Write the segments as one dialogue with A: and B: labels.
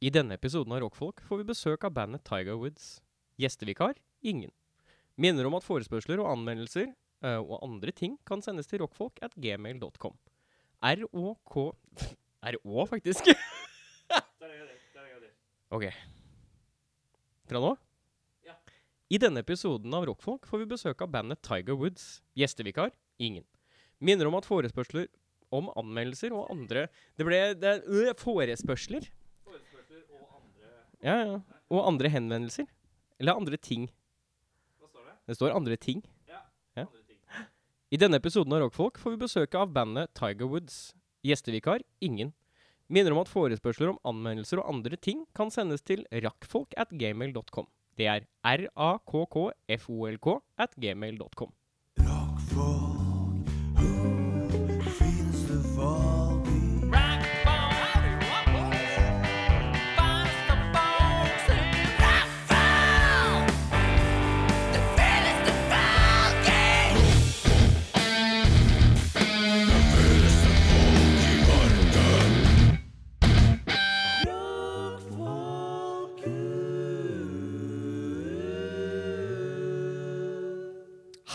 A: I denne episoden av Rockfolk får vi besøk av bandet Tiger Woods. Gjestevikar ingen. Minner om at forespørsler og anmeldelser eh, og andre ting kan sendes til rockfolk at gmail.com. R-O-K R-Å, faktisk. OK. Fra nå? I denne episoden av Rockfolk får vi besøk av bandet Tiger Woods. Gjestevikar ingen. Minner om at forespørsler om anmeldelser og andre Det ble det, er- øh, forespørsler. Ja, ja. Og andre henvendelser. Eller andre ting. Det står andre ting. Ja. I denne episoden av Rockfolk får vi besøk av bandet Tiger Woods. Gjestevikar ingen. Minner om at forespørsler om anmeldelser og andre ting kan sendes til rakkfolk at gmail.com. Det er rakkfolk at gmail.com.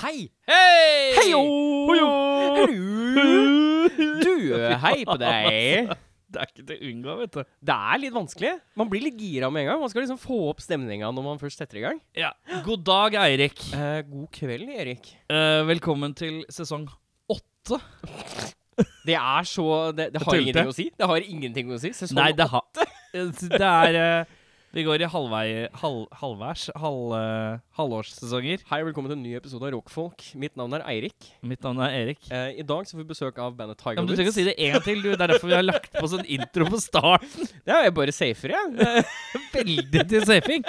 A: Hei!
B: Hei!
A: Heio!
B: Hojo!
A: Hallo! Du, hei på deg.
B: Det er ikke til å unngå, vet du.
A: Det er litt vanskelig. Man blir litt gira med en gang. Man skal liksom få opp stemninga når man først setter i gang.
B: Ja. God dag, Eirik.
A: Eh, god kveld, Erik.
B: Eh, velkommen til sesong åtte.
A: Det er så Det, det har
B: Tulte.
A: ingenting å si. Det har ingenting å si. Sesong
B: Nei, det har Det er eh, Vi går i halvvei... Halv, halvværs? Halv, eh, halvårssesonger.
A: Hei og velkommen til en ny episode av Rockfolk. Mitt navn er Eirik.
B: Mitt navn er Erik.
A: Eh, I dag så får vi besøk av bandet Tiger
B: Ja, men du
A: Woods.
B: trenger å si det en gang til. Du. Det er derfor vi har lagt på sånn intro på start.
A: Ja, jeg bare safer, jeg.
B: Veldig til safing.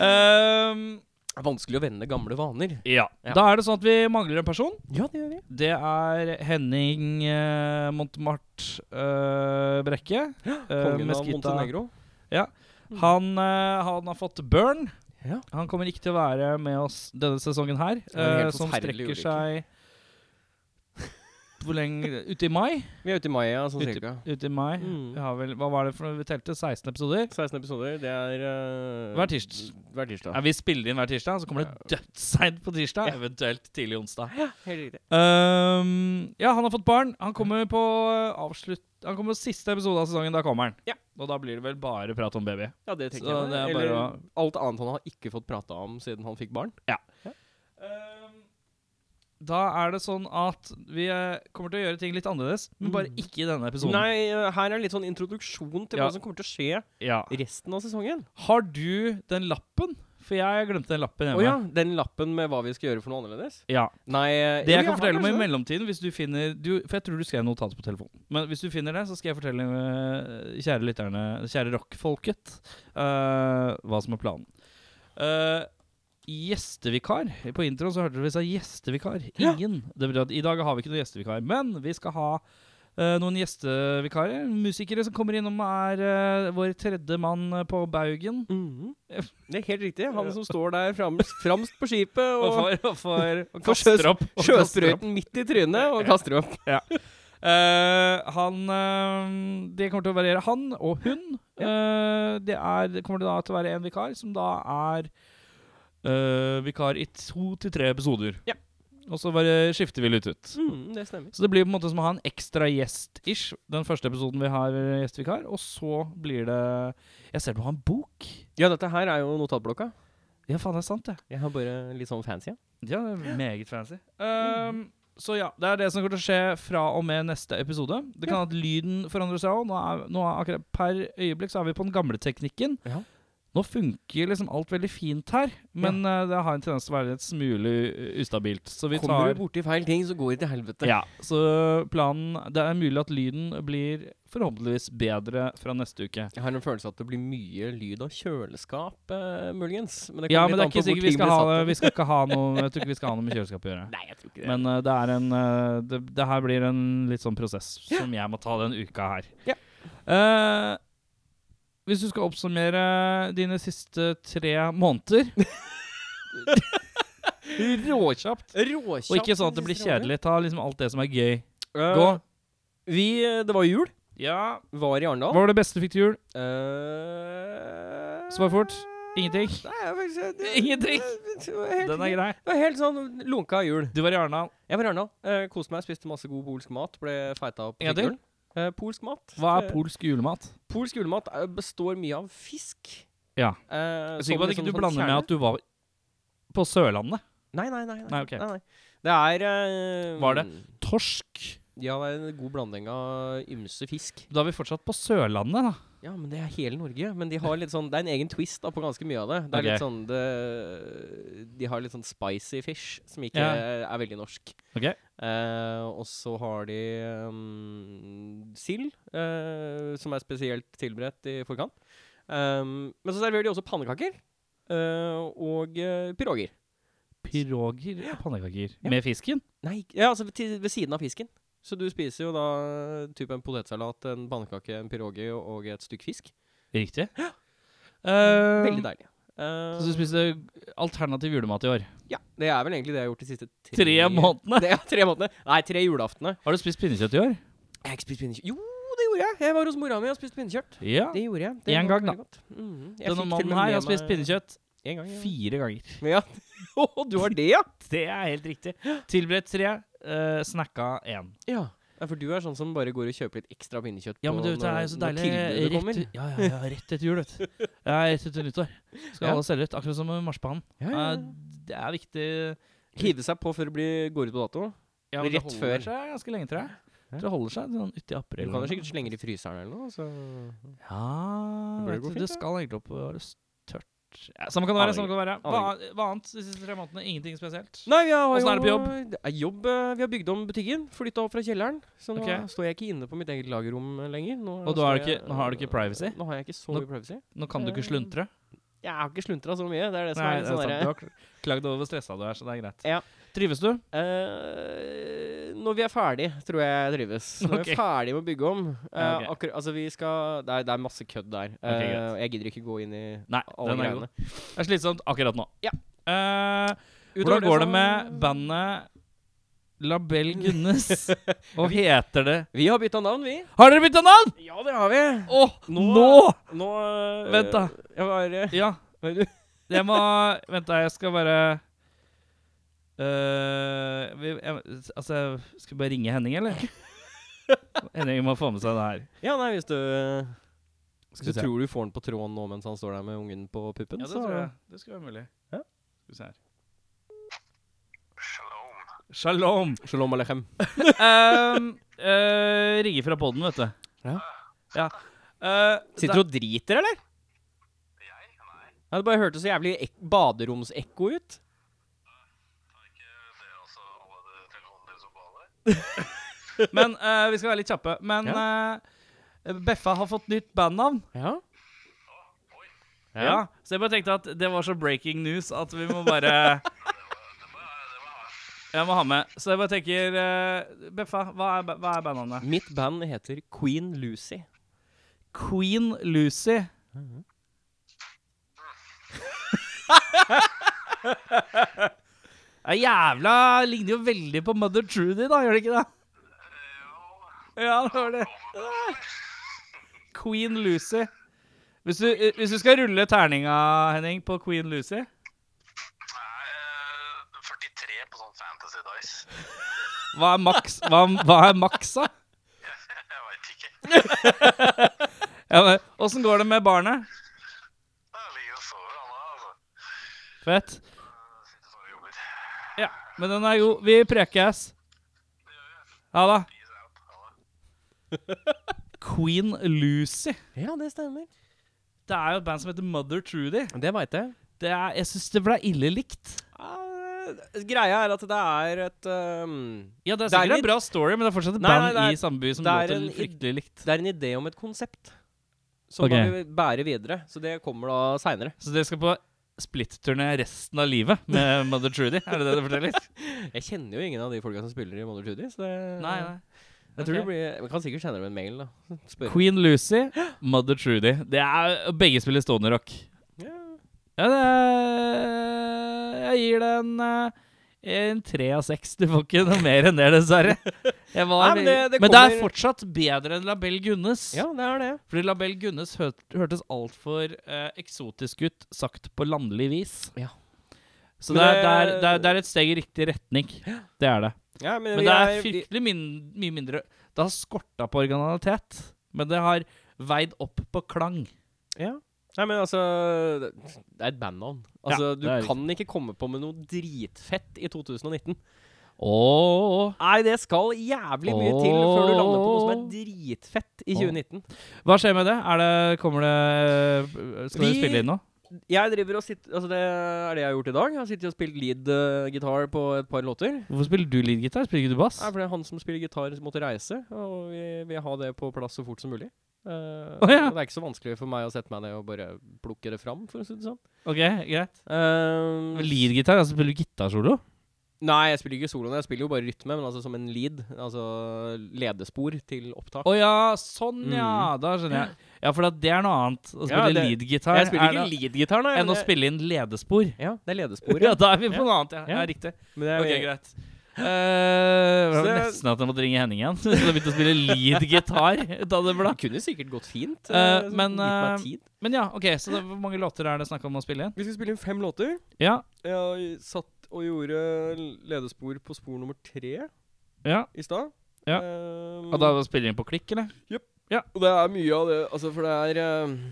B: Ehm,
A: Det er vanskelig å vende gamle vaner.
B: ja.
A: Ja.
B: Da er det sånn at vi mangler en person.
A: Ja, det gjør vi.
B: Det er Henning eh, Montemart eh, Brekke. eh,
A: Kongen av
B: Mesquita.
A: Montenegro.
B: Han, eh, han har fått burn.
A: Ja.
B: Han kommer ikke til å være med oss denne sesongen her,
A: Det var en helt
B: eh, som
A: forferdelig
B: strekker seg Hvor lenge Ute i mai?
A: Vi er ute i mai, ja, sånn cirka.
B: Ute i mai.
A: Mm.
B: Vi har vel, hva var det for noe vi telte? 16 episoder?
A: 16 episoder. Det er eh,
B: Hver tirs-
A: Hver tirsdag.
B: Ja, vi spiller inn hver tirsdag, så kommer det dødsseint på tirsdag. Eventuelt tidlig onsdag.
A: Ja, helt riktig.
B: Ehm, ja, han har fått barn. Han kommer på eh, avslutt... Han kommer på siste episode av sesongen. Da kommer han.
A: Ja.
B: Og da blir det vel bare prat om baby.
A: Ja, det tenker
B: Så
A: jeg.
B: det er
A: Eller
B: bare å-
A: alt annet han har ikke fått prata om siden han fikk barn. Eh,
B: da er det sånn at vi eh, kommer til å gjøre ting litt annerledes, men bare
A: Mm.
B: ikke i denne episoden.
A: Nei, eh, her er litt sånn introduksjon til
B: Ja.
A: hva som kommer til å skje
B: Ja.
A: resten av sesongen.
B: Har du den lappen? For jeg glemte den
A: Å
B: lappen hjemme.
A: ja, den lappen med hva vi skal gjøre for noe annerledes?
B: Ja.
A: Nei eh,
B: Det
A: jo,
B: jeg kan
A: har
B: fortelle om i
A: kanskje det.
B: mellomtiden hvis du finner, du, For jeg tror du skrev notatet på telefonen. Men hvis du finner det, så skal jeg fortelle eh, kjære lytterne, kjære rockfolket, eh, hva som er planen. Eh, gjestevikar. På introen så hørte dere vi sa gjestevikar.
A: Ja.
B: Ingen. Det betyr at i dag har vi ikke noen gjestevikar. Men vi skal ha eh, noen gjestevikarer. Musikere som kommer innom er eh, vår tredje mann på baugen.
A: Mhm. Det er helt riktig. Han som står der framst, framst på skipet og
B: Og får, og får, og
A: For sjøs-
B: kaster opp. og kaster opp.
A: sjøsprøyten midt i trynet og kaster opp.
B: Eh, han eh, Det kommer til å variere han og hun. Eh, det er, det kommer da til å være en vikar, som da er eh, vikar i to til tre episoder.
A: Ja.
B: Og så bare skifter vi litt ut.
A: Mhm, det stemmer.
B: Så det blir på en måte som å ha en ekstra gjest-ish. Den første episoden vi har gjestevikar. Og så blir det Jeg ser du har en bok.
A: Ja, dette her er jo notatblokka.
B: Ja, faen, det er sant, det.
A: Jeg har bare litt sånn fancy. ja.
B: Ja, det er meget fancy. Ehm, Så ja, det er det som kommer til å skje fra og med neste episode. Det kan at lyden forandrer seg òg. Nå er, nå er akkurat per øyeblikk så er vi på den gamle teknikken.
A: Ja.
B: Nå funker liksom alt veldig fint her, men eh, det har en tendens til å være et smule eh, ustabilt. Så vi
A: Kommer du
B: tar
A: borti feil ting, så går det til helvete.
B: ja, Så planen Det er mulig at lyden blir forhåpentligvis bedre fra neste uke.
A: Jeg har en følelse at det blir mye lyd av kjøleskap, eh, muligens. Men det
B: Ja,
A: kommer litt
B: men
A: an
B: det er ikke
A: på hvor
B: sikkert vi
A: ting
B: skal
A: blir
B: ha
A: satt
B: det
A: opp.
B: Vi skal ikke ha noe Jeg tror ikke vi skal ha noe med kjøleskap å gjøre.
A: Nei, jeg tror ikke det.
B: Men eh, det er en eh, det, det her blir en litt sånn prosess
A: Ja.
B: som jeg må ta den uka her.
A: Ja.
B: Eh, hvis du skal oppsummere dine siste tre måneder Råkjapt.
A: Råkjapt.
B: sånn liksom Og ikke sånn at det blir kjedelig. Ta liksom alt det som er gøy.
A: Eh,
B: Gå.
A: Vi, eh, det var jul.
B: Ja
A: Var i
B: Hva
A: Arendal.
B: var det beste du fikk til jul?
A: Eh,
B: Svar fort. Ingenting.
A: Nei, jeg, faktisk, det,
B: Ingenting.
A: Det var helt,
B: Den er grei.
A: det var helt sånn lunka jul.
B: Du var i Arendal.
A: Jeg var i Arendal. eh, koste meg, spiste masse god polsk mat. Ble feita opp.
B: En gang til?
A: figuren. Eh, polsk mat.
B: Hva er
A: Eh,
B: polsk julemat?
A: Polsk julemat er- består mye av fisk.
B: Ja.
A: Eh,
B: Jeg er sikker på
A: som
B: at
A: liksom
B: ikke du
A: sånn
B: blander med
A: kjerne.
B: at du var på Sørlandet.
A: Nei, nei, nei.
B: Nei, ok.
A: nei. Det er eh,
B: Var det? Torsk.
A: Ja, det er en god blanding av ymse fisk.
B: Da er vi fortsatt på Sørlandet, da.
A: Ja, men det er hele Norge. Men de har litt sånn Det er en egen twist da på ganske mye av det. Det er
B: Ok.
A: litt sånn det, De har litt sånn spicy fish, som ikke
B: Ja.
A: er veldig norsk.
B: Ok.
A: Eh, og så har de um, sild, eh, som er spesielt tilberedt i forkant. Um, men så serverer de også pannekaker eh, og uh, piroger.
B: Piroger og pannekaker. Med fisken?
A: Nei, ikke- ja, altså til, ved siden av fisken. Så du spiser jo da eh, typ en potetsalat, en pannekake, en pirogi og et stykk fisk.
B: Riktig. Ja.
A: Veldig deilig.
B: så du
A: Eh,
B: spiste alternativ julemat i år?
A: ja, det er vel egentlig det jeg har gjort de siste tre,
B: Tre månedene?
A: Det, ja, tre månedene. Nei, tre julaftene.
B: Har du spist pinnekjøtt i år?
A: Jeg har ikke spist pinnekjøtt. Jo, det gjorde jeg! Jeg var hos mora mi og spiste pinnekjøtt.
B: Ja.
A: Det gjorde jeg.
B: En
A: var
B: gang, da.
A: veldig godt. Mhm. Jeg fikk til
B: Denne
A: og
B: mannen
A: med
B: her
A: med
B: har spist
A: meg-
B: pinnekjøtt
A: En gang, ja.
B: fire ganger.
A: ja. Å, du har det, ja?
B: Det er helt riktig. Tilberedt tre, eh, snakka én.
A: Ja. Ja, For du er sånn som bare går og kjøper litt ekstra pinnekjøtt
B: Ja, men
A: på
B: du, vet, det er jo så
A: når
B: deilig
A: tilbudet kommer.
B: rett, ja, ja, ja, rett etter jul, vet du. Ja, rett etter nyttår. Skal
A: Ja.
B: alle selge ut, akkurat som med marsipanen.
A: Ja, ja,
B: Eh,
A: ja.
B: Det er viktig.
A: Hive seg på før det blir, går ut på dato.
B: Ja,
A: men det
B: det
A: holder
B: holder seg ganske lenge, tror jeg.
A: Ja.
B: Det holder seg sånn uti april.
A: Du kan jo
B: eller
A: sikkert
B: noe.
A: slenge det i fryseren eller noe. Så.
B: Ja,
A: Det burde gå
B: det, vet du,
A: fint,
B: det
A: det.
B: skal egentlig opp og være s- tørt. Ja, samme kan det være. samme kan det være. Hva,
A: Aner
B: hva annet de siste tre månedene? Ingenting spesielt?
A: Nei, vi har
B: Åssen er det på
A: Det er jobb eh, Vi har bygd om butikken. Flytta opp fra kjelleren. Så nå
B: Ok.
A: står jeg ikke inne på mitt eget lagerrom eh, lenger. Nå
B: Og da har
A: står
B: du ikke-
A: jeg-
B: nå har du ikke privacy?
A: Nå har jeg ikke så
B: Nå-
A: mye privacy.
B: Nå kan du ikke
A: Eh,
B: sluntre.
A: Jeg har ikke sluntra så mye. Det er det som
B: Nei,
A: er litt
B: det er sant.
A: sånn
B: Du
A: derre
B: har kl- klagd over hvor stressa du er, så det er greit.
A: Ja.
B: Trives du?
A: Eh, Når vi er ferdig, tror jeg jeg trives. Når vi
B: Ok.
A: er ferdig med å bygge om
B: Ja,
A: eh,
B: ok.
A: akkurat, Altså, vi skal Det er, det er masse kødd der. Eh,
B: greit.
A: og jeg gidder ikke gå inn i
B: Nei,
A: alle
B: den er
A: greiene.
B: god. Det er slitsomt akkurat nå.
A: Ja.
B: Eh,
A: Utover
B: hvordan går det
A: så-
B: med bandet Labell Gunnes? Og heter det
A: Vi har bytta navn, vi.
B: Har dere bytta navn?!
A: Ja, det har vi.
B: Å, nå!
A: Nå- Nå eh,
B: Vent, da.
A: Jeg var eh,
B: Ja. Jeg må Vent, da. Jeg skal bare Eh, vi, jeg, Altså, skal vi bare ringe Henning, eller? Henning må få med seg det her.
A: Ja, nei, hvis du eh,
B: Skal
A: du
B: vi se.
A: tror du får den på tråden nå mens han står der med ungen på puppen?
B: Ja, det
A: så-
B: tror jeg. Det skal være mulig.
A: Ja.
B: Skal vi se her. Shalom.
A: Shalom alechem.
B: Ehm, eh, Rigge fra podden, vet du.
A: Ja.
B: Ja. Eh,
A: Sitter
B: da-
A: du og driter, eller? Ja, det bare hørtes så jævlig ek baderomsekko ut.
B: Men eh, vi skal være litt kjappe. Men eh, Beffa har fått nytt bandnavn.
A: Ja.
B: Ja. Så jeg bare tenkte at det var så breaking news at vi må bare Jeg må ha med. Så jeg bare tenker eh, Beffa, hva er, ba- hva er bandnavnet?
A: Mitt band heter Queen Lucy.
B: Queen Lucy. Ja, jævla ligner jo veldig på Mother Trudy, da, gjør det ikke det? Ja, det var det. Queen Lucy. Hvis du, eh, hvis du skal rulle terninga, Henning, på Queen Lucy
C: Nei, eh, 43 på sånn Fantasy Dice.
B: Hva er maks, hva, hva er maks da?
C: Jeg veit ikke.
B: Ja, men, Åssen går det med barnet?
C: Jeg ligger og sover, han da. altså.
B: Fett.
C: Jeg Sitter bare og jobber.
B: Ja, men den er god. Vi prekes. Ja da.
C: Peace out. Ha det.
B: Queen Lucy.
A: Ja, det stemmer.
B: Det er jo et band som heter Mother Trudy.
A: Det veit jeg.
B: Det er, jeg syns det ble ille likt.
A: eh, greia er at det er et um,
B: Ja,
A: Det
B: det er
A: er
B: sikkert
A: litt-
B: en bra story, men det er fortsatt et
A: Nei,
B: band
A: nei, det er-
B: i samme by som
A: det er
B: låter
A: en-
B: fryktelig likt.
A: Det er en idé om et konsept. Som
B: Ok.
A: da vi bærer videre. Så det kommer da seinere.
B: Så dere skal på splitt-turné resten av livet med Mother Trudy? Er det det du forteller?
A: Jeg kjenner jo ingen av de folka som spiller i Mother Judy, så det
B: Nei, nei.
A: Jeg tror det
B: Ok.
A: blir Vi kan sikkert sende dem en mail, da. Spør.
B: Queen Lucy, Mother Trudy. Det er Begge spiller Stoner Rock.
A: Ja.
B: Ja, det er, jeg gir det en eh, en tre av seks. Du får ikke noe mer enn det, dessverre. Jeg var,
A: Nei, men det- det
B: men det er
A: kommer-
B: fortsatt bedre enn Labell Gunnes.
A: Ja, det er det.
B: Fordi Labell Gunnes hø hørtes altfor eh, eksotisk ut, sagt på landlig vis.
A: Ja.
B: Så
A: Men
B: det er, det, er,
A: det-
B: det, er, det er et steg i riktig retning. Det er det.
A: Ja, men,
B: Men
A: vi
B: det er
A: vi-
B: fryktelig min, mye mindre Det har skorta på originalitet, men det har veid opp på klang.
A: Ja. Nei, men altså Det det er et bandnavn.
B: Ja,
A: Altså,
B: det
A: du
B: er riktig.
A: kan ikke komme på med noe dritfett i 2019.
B: Ååå.
A: Nei, det skal jævlig mye til før du lander på noe som er
B: Åh.
A: dritfett i
B: Åh.
A: 2019.
B: Hva skjer med det? Er det kommer det eh, Skal vi
A: Vi-
B: spille inn nå?
A: Jeg driver og sitter Altså, det er det jeg har gjort i dag. Jeg har sittet og spilt lead eh, gitar på et par låter.
B: Hvorfor spiller du leadgitar? Spiller ikke du bass?
A: Nei, for det er han som spiller gitar, som måtte reise, og vi vil ha det på plass så fort som mulig. Eh,
B: Å, ja.
A: og Det er ikke så vanskelig for meg å sette meg ned og bare plukke det fram, for å si det sånn.
B: Ok, greit.
A: Eh,
B: Leadgitar? Altså spiller du gitarsolo?
A: Nei, jeg spiller ikke soloen, jeg spiller jo bare rytme, men altså som en lead. Altså ledespor til opptak.
B: Å ja, sånn ja. Da skjønner jeg. Ja, for at det er noe annet.
A: Ja,
B: Å spille
A: det-
B: leadgitar
A: jeg spiller
B: er
A: ikke
B: noe-
A: lead-gitar, nei.
B: enn å
A: men jeg-
B: spille inn ledespor.
A: Ja, det er ledespor,
B: Ja, da er vi på
A: Ja.
B: noe annet, ja.
A: Ja.
B: ja. riktig.
A: Men jeg,
B: Ok, greit. Eh, det var
A: Så-
B: nesten at jeg måtte ringe Henning igjen. Så jeg begynte å spille lead-gitar. Da det ble.
A: Det kunne sikkert gått fint.
B: Eh,
A: eh, så
B: men,
A: gitt meg
B: eh,
A: tid.
B: Men ja, ok, så det, hvor mange låter er det snakk om å spille inn?
A: Vi skal spille inn fem låter.
B: Ja,
A: Jeg satt og gjorde ledespor på spor nummer tre
B: ja.
A: i stad.
B: Ja.
A: Ehm,
B: Og da spiller du inn på klikk, eller?
A: og det er mye av det Altså, for det er ehm,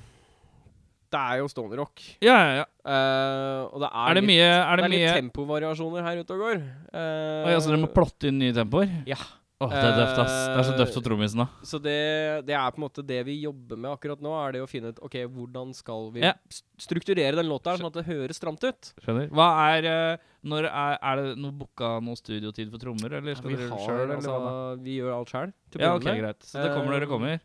A: Det er jo stående rock.
B: Ja, ja, ja.
A: Eh, og det er,
B: Er det
A: litt,
B: mye Er
A: det
B: det
A: er litt
B: mye
A: tempovariasjoner her ute og går.
B: Oi, altså dere må
A: Eh,
B: plotte inn nye tempoer?
A: Ja.
B: Åh, det er døft, ass. Det er så døft for trommisen, da.
A: Så det, det er på en måte det vi jobber med akkurat nå, er det å finne ut Ok, hvordan skal vi
B: Ja.
A: st- strukturere den låta her, sånn at det høres stramt ut?
B: Skjønner. Hva er eh, Når er, er det noe booka noe studiotid for trommer, eller skal
A: vi,
B: dere gjøre det
A: har,
B: sjøl, eller
A: altså,
B: hva da?
A: vi gjør alt sjæl.
B: Ja, ok, greit. Så det kommer når det
A: Eh,
B: kommer?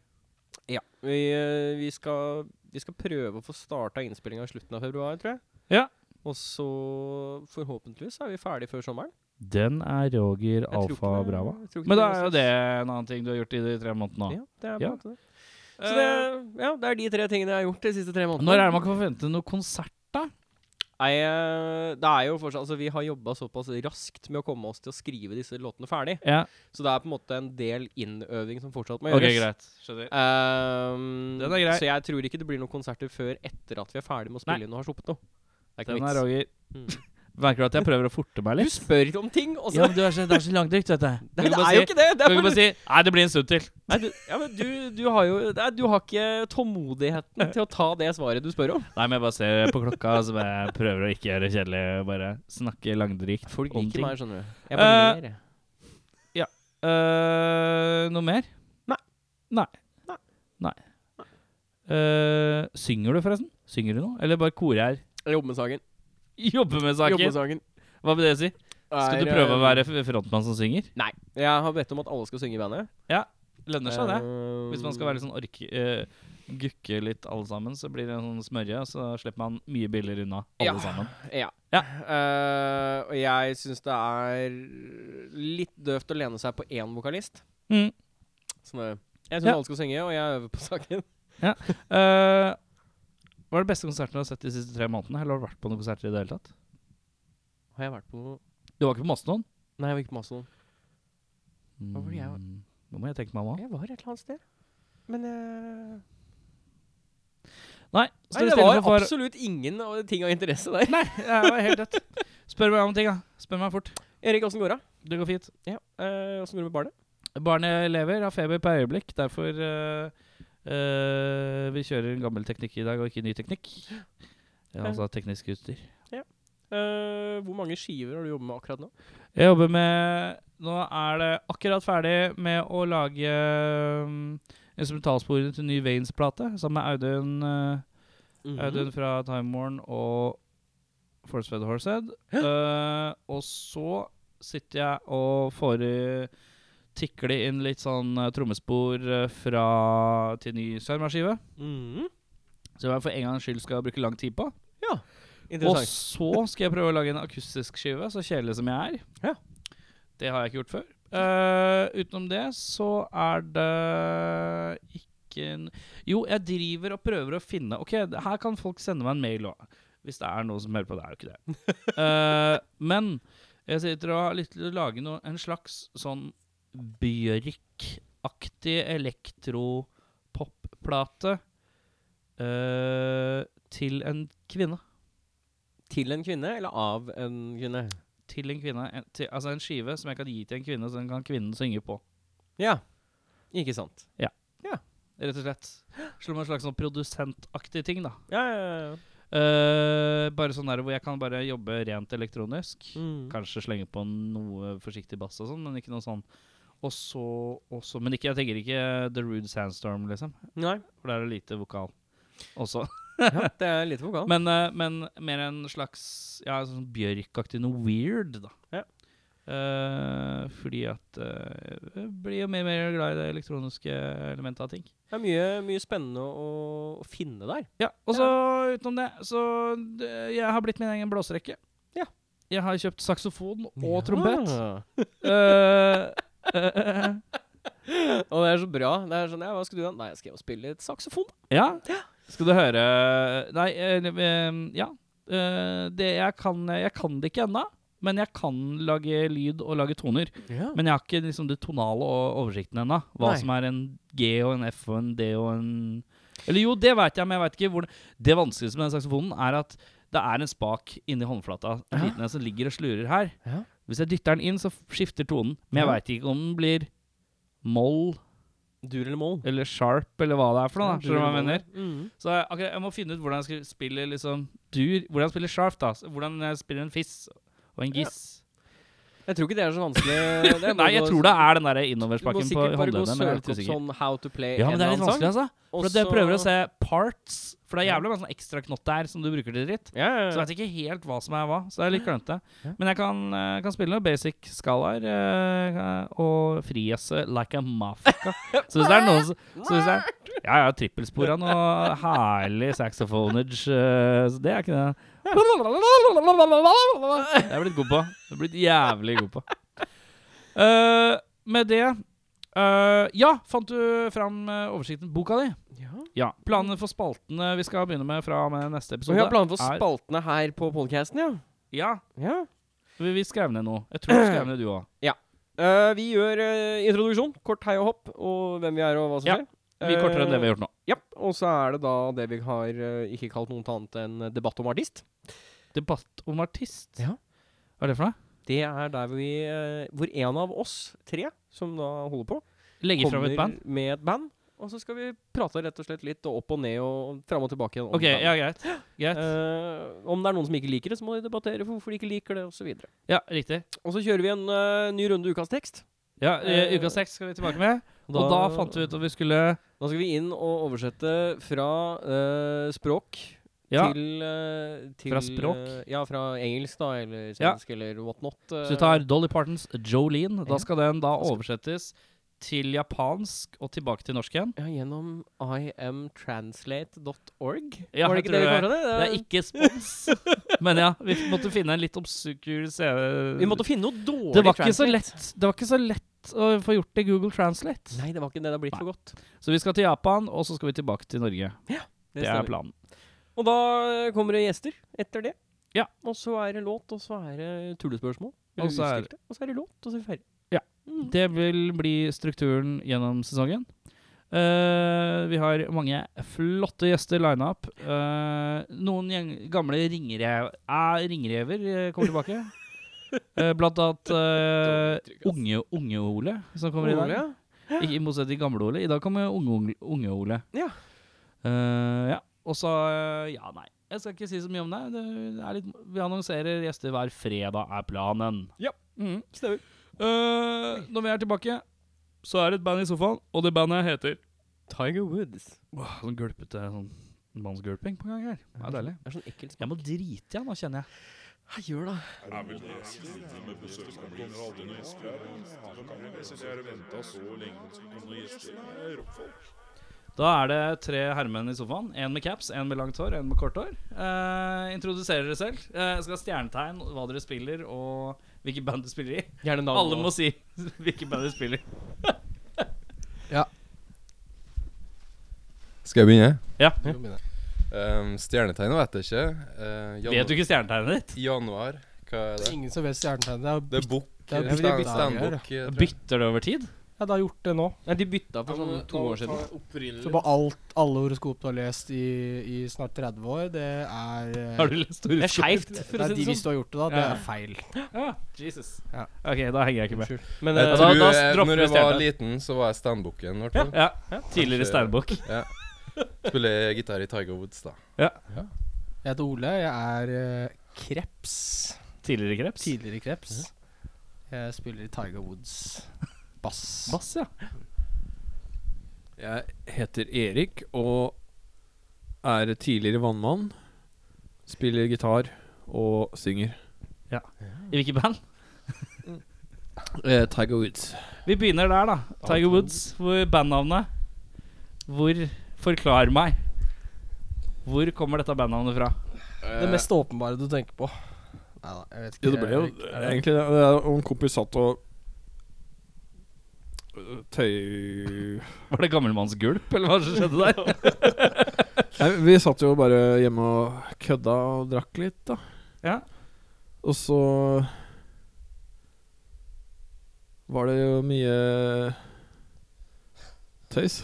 A: Ja. Vi, eh, vi, skal, vi skal prøve å få starta innspillinga i slutten av februar, tror jeg.
B: Ja.
A: Og så forhåpentligvis er vi ferdig før sommeren.
B: Den er
A: Jeg
B: Roger
A: tror ikke det- jeg tror ikke
B: Men da
A: noe
B: er jo
A: stress.
B: det en annen ting du har gjort i de tre månedene.
A: Ja, det er på en
B: Ja. Eh,
A: måte det. Så det, ja, det er de tre tingene jeg har gjort de siste tre månedene.
B: Når er det man kan forvente noe konsert?
A: Nei, eh, det er jo fortsatt Altså, vi har jobba såpass raskt med å komme oss til å skrive disse låtene ferdig,
B: Ja,
A: så det er på en måte en del innøving som fortsatt må
B: ok,
A: gjøres.
B: greit. Skjønner.
A: Ehm,
B: Den er grei.
A: Så jeg tror ikke det blir noen konserter før etter at vi er ferdig med å spille inn og har sluppet noe. Det er ikke
B: Den
A: noe
B: er Roger.
A: vits. Mm.
B: Merker du at jeg prøver å forte meg
A: Du
B: litt?
A: spør om ting, og så
B: Ja, men du er så, det er så langdrygt, vet du.
A: Nei, det er jo ikke det! det
B: Du
A: er
B: kan
A: bare,
B: bare si Nei, det blir en stund til.
A: nei, du, ja, men du, du har jo nei, Du har ikke tålmodigheten til å ta det svaret du spør om.
B: Nei, men jeg bare ser på klokka, så jeg prøver å ikke gjøre det kjedelig. Bare snakke langdrygt
A: Folk
B: om
A: liker
B: ting.
A: meg, skjønner du. Jeg bare
B: Eh,
A: ler, jeg.
B: Eh, noe mer?
A: Nei.
B: Nei.
A: Nei.
B: Nei. Eh, synger du, forresten? Synger du nå? Eller bare korer her?
A: Jeg jobber med sangen.
B: Jobber med
A: Jobber
B: saken?
A: med sangen.
B: Hva vil det si? Skal du
A: Er,
B: prøve å
A: eh,
B: være f- frontmann som synger?
A: Nei. Jeg har bedt om at alle skal synge i bandet.
B: Lønner seg det.
A: Ehm,
B: Hvis man skal være litt sånn ork... eh, gukke litt alle sammen, så blir det en sånn smørje, og så slipper man mye billigere unna alle
A: Ja.
B: sammen.
A: Ja.
B: Ja.
A: Eh, og jeg syns det er litt døvt å lene seg på én vokalist.
B: Mm.
A: Sånn er det. jeg syns
B: Ja.
A: alle skal synge, og jeg øver på saken.
B: Eh, hva er det beste konserten du har sett de siste tre månedene? Eller har du vært på noen konserter i det hele tatt?
A: Har jeg vært på
B: Du var ikke på Mastodon?
A: Nei, jeg var ikke på Mastodon. Hva var det jeg var?
B: Mm, Nå må jeg tenke meg om. også.
A: Jeg var et eller annet sted. Men eh,
B: Nei,
A: Nei, det var absolutt ingen av de ting av interesse der.
B: Nei, jeg var helt dødt. Spør meg om ting, da. Spør meg fort.
A: Erik, åssen går det?
B: Det går fint.
A: Ja. eh, Åssen går det med barnet?
B: Barnet lever, har feber per øyeblikk. Derfor eh, eh, vi kjører en gammel teknikk i dag, og ikke ny teknikk. Ja, altså teknisk utstyr.
A: Eh, hvor mange skiver har du jobbet med akkurat nå?
B: Jeg jobber med Nå er det akkurat ferdig med å lage um, instrumentalsporene til ny Veins-plate, sammen med Audun, eh,
A: Mhm.
B: Audun fra Time Warn og Force Fed Horsehead. Eh, og så sitter jeg og får i- tikle inn litt sånn eh, trommespor eh, fra til ny Sørmarskive.
A: Mhm.
B: Som jeg for en gangs skyld skal bruke lang tid på. Og
A: Interessant.
B: så skal jeg prøve å lage en akustisk skive, så kjedelig som jeg er.
A: Ja.
B: Det har jeg ikke gjort før. Eh, utenom det så er det ikke en Jo, jeg driver og prøver å finne Ok, det- her kan folk sende meg en mail òg. Hvis det er noen som hører på. Det er jo ikke det. Eh, men Jeg sitter og har lyst til å lage noe, en slags sånn Bjørk-aktig elektropopplate eh, til en kvinne.
A: Til en kvinne, eller av en kvinne?
B: Til en kvinne. En, til, altså en skive som jeg kan gi til en kvinne, så den kan kvinnen synge på.
A: Ja. Ikke sant.
B: Rett og slett. Som en slags sånn produsentaktig ting, da.
A: Ja, ja, ja.
B: Eh, bare sånn der hvor jeg kan bare jobbe rent elektronisk.
A: Mm.
B: Kanskje slenge på noe forsiktig bass og sånn, men ikke noe sånn. Og så også Men ikke, jeg tenker ikke The Rude Sandstorm, liksom.
A: Nei.
B: For der er det lite vokal også.
A: Ja, det er litt vokal.
B: Men, eh, men mer en slags ja, sånn Bjørk-aktig noe weird, da.
A: Ja.
B: Eh, fordi at eh, jeg blir jo mer og mer glad i det elektroniske elementet av ting.
A: Det er mye, mye spennende å, å finne der.
B: Ja, og så utenom det, så d- jeg har blitt min egen blåserekke.
A: Ja.
B: Jeg har kjøpt saksofon og
A: Ja.
B: trompet. Eh, eh,
A: Og det er så bra. Det er sånn, ja, Hva skal du ha? Nei, jeg skal jo spille litt saksofon.
B: ja. Skal du høre Nei, eh, eh, ja. Eh, det jeg kan Jeg kan det ikke ennå. Men jeg kan lage lyd og lage toner.
A: Ja.
B: Men jeg har ikke liksom det tonale og oversikten ennå. Hva
A: Nei.
B: som er en G og en F og en D og en Eller jo, det veit jeg, men jeg veit ikke hvordan Det vanskeligste med den saksofonen er at det er en spak inni håndflata. En
A: Ja.
B: liten en som ligger og slurer her.
A: Ja.
B: Hvis jeg dytter den inn, så skifter tonen. Men jeg
A: Ja.
B: veit ikke om den blir moll
A: Dur eller mål?
B: eller sharp eller hva det er for noe. da, Skjønner du hva jeg mener?
A: Mm.
B: Så jeg, akkurat, jeg må finne ut hvordan jeg skal spille liksom dur, hvordan jeg spiller sharp, da. Så Hvordan jeg spiller en fiss og en
A: Ja.
B: giss.
A: Jeg tror ikke det er så vanskelig. Det er
B: Nei,
A: bare
B: jeg
A: å-
B: tror det er den der
A: Du må
B: innoverspakken på
A: sikkert bare gå og
B: håndleddet, men jeg er litt
A: søke opp
B: usikker.
A: sånn How to play
B: Ja, men det er litt vanskelig, altså. For at jeg prøver å se parts, for det er
A: Ja.
B: jævlig mange sånne ekstra knott der som du bruker til dritt.
A: ja, ja,
B: Så jeg
A: ja.
B: vet ikke helt hva som er hva, så jeg er litt glemte.
A: Ja.
B: Men jeg kan, eh, kan spille noen basic skalaer eh, og frijazze like a mafka. Så hvis det er noen som så hvis det er, Ja, ja, trippelspor av noe herlig saxophonage. eh, så det er ikke det. Det er jeg blitt god på. Det er jeg blitt jævlig god på. Eh, med det eh, Ja, fant du fram eh, oversikten? Boka di?
A: ja.
B: Ja. Planene for spaltene vi skal begynne med fra og med neste
A: Så
B: episode.
A: vi har planer for
B: er-
A: spaltene her på podcasten, ja?
B: Ja,
A: Ja.
B: vi, vi skrev ned noe. Jeg tror du skrev ned du òg.
A: Eh, vi gjør eh, introduksjon, kort hei og hopp, og hvem vi er og hva som
B: Ja,
A: skjer.
B: Vi kortere enn det
A: Eh,
B: vi har gjort nå.
A: Ja, og så er det da det vi har eh, ikke kalt noe annet enn debatt om artist.
B: Debatt om artist.
A: Ja.
B: Hva er det for noe?
A: Det er der vi, eh, hvor en av oss tre, som da holder på,
B: Legge fram
A: kommer
B: et band?
A: med et band. Og så skal vi prate rett og slett litt opp og ned og fram og tilbake igjen. om
B: OK,
A: bandet.
B: ja, greit. Greit.
A: Eh, om det er noen som ikke liker det, så må de debattere for hvorfor de ikke liker det, osv. Og
B: Ja, riktig.
A: så kjører vi en eh, ny runde ukas tekst.
B: Ja, eh,
A: eh,
B: Uka seks skal vi tilbake med. Og da fant vi ut at vi skulle
A: Da skal vi inn og oversette fra eh, språk
B: Ja.
A: til, eh, til
B: Fra språk?
A: eh, ja, fra engelsk, da, eller
B: Ja.
A: svensk, eller whatnot. eh.
B: Så vi tar Dolly Partons Jolene. Da
A: Ja.
B: skal den da
A: Da skal-
B: oversettes til japansk og tilbake til norsk igjen.
A: ja, gjennom imtranslate.org.
B: Ja,
A: Var det
B: jeg
A: ikke
B: tror
A: det vi
B: det.
A: kalte det?
B: Det er ikke spons. Men ja, vi måtte finne en litt obskur CV.
A: vi måtte finne noe dårlig
B: det var ikke så
A: translate.
B: lett Det var ikke så lett å få gjort det i Google Translate.
A: Nei, det var ikke det. Det har blitt for godt.
B: Så vi skal til Japan, og så skal vi tilbake til Norge. Det er
A: stemmer.
B: planen.
A: Og da eh, kommer det gjester etter det.
B: Ja.
A: Og så er det låt, og så er det tullespørsmål. eller
B: Og så er-
A: utstilte, og så er det låt, og så er vi ferdig.
B: Ja.
A: Mm.
B: Det vil bli strukturen gjennom sesongen. Eh, vi har mange flotte gjester lina opp. Eh, noen gjeng gamle ringrev, eh, ringrever eh, kommer tilbake. Eh, blant annet eh, unge Unge-Ole, som kommer i dag.
A: Ole,
B: Ikke i motsetning til gamle-Ole. I dag kommer unge-Ole. Unge Ole.
A: Ja.
B: Eh, ja. Og så eh, Ja, nei. Jeg skal ikke si så mye om det. det er litt, vi annonserer gjester hver fredag, er planen.
A: Ja.
B: Mhm.
A: Stemmer.
B: Eh, når vi er tilbake, så er det et band i sofaen, og det bandet heter
A: Tiger Woods.
B: Åh, Sånn gulpete sånn mannsgulping på gang her. Det er deilig.
A: Det er sånn ekkelt
B: Jeg må drite, ja, nå kjenner jeg.
A: Hva gjør det?
B: Da er det tre herremenn i sofaen. En med caps, en med langt hår, en med kort hår. Eh, introduserer dere selv. Eh, jeg skal ha stjernetegn, hva dere spiller, og hvilket band dere spiller i.
A: Gjerne navn.
B: Alle må si hvilket band dere spiller.
D: Skal jeg begynne?
B: Ja.
D: Um, stjernetegnet Ehm, vet jeg ikke. Eh, janu
B: Vet du ikke stjernetegnet ditt?
D: Januar, Hva er det?
E: Ingen som vet stjernetegnet. Det er
D: Det er
E: bytt-
D: bukk.
E: det er
D: eller
E: bytt-
D: stand-
E: dager, ja.
D: standbukk, eh, tror jeg.
B: Bytter det over tid?
E: Ja, det har gjort det nå.
A: Nei, de bytta for sånn to år siden.
E: Så på alt alle horoskop du har lest i, i snart 30 år, det er eh,
B: Har du lest
A: Det
B: ordet?
A: er skeivt, for å
E: det er
A: si
E: de
A: det
E: hvis
A: sånn.
E: du har gjort det, da. Det
B: Ja.
E: er feil.
B: Ah, Jesus.
E: Ja.
B: Ok, da henger jeg ikke med.
E: Unnskyld.
A: Men
D: Jeg
A: eh,
D: tror,
B: da
D: jeg-
B: dropper
D: når
B: vi
D: jeg var
B: stjerna.
D: liten, så var jeg standbukken, i hvert
B: Ja,
D: fall.
B: ja. Tidligere
D: Kanskje-
B: steinbukk.
D: Ja. Spiller gitar i Tiger Woods, da.
E: Jeg heter Ole. Jeg er eh, kreps.
B: Tidligere kreps.
E: Tidligere kreps. Jeg spiller i Tiger Woods. Bass.
B: Bass, ja.
F: Jeg heter Erik og er tidligere vannmann. Spiller gitar og synger.
B: I hvilket band?
F: Eh, Tiger Woods.
B: Vi begynner der, da. Tiger Woods. Hvor bandnavnet Hvor Forklar meg. Hvor kommer dette bandnavnet fra?
E: Det mest åpenbare du tenker på. Nei da, jeg vet ikke.
F: Jo, det ble jo
E: Erik. Er det-
F: egentlig det. Det er om en kompis satt og øh, Tøy...
B: Var det gammelmannsgulp, eller hva som skjedde der?
F: Nei, vi satt jo bare hjemme og kødda og drakk litt, da.
B: Ja.
F: Og så var det jo mye tøys.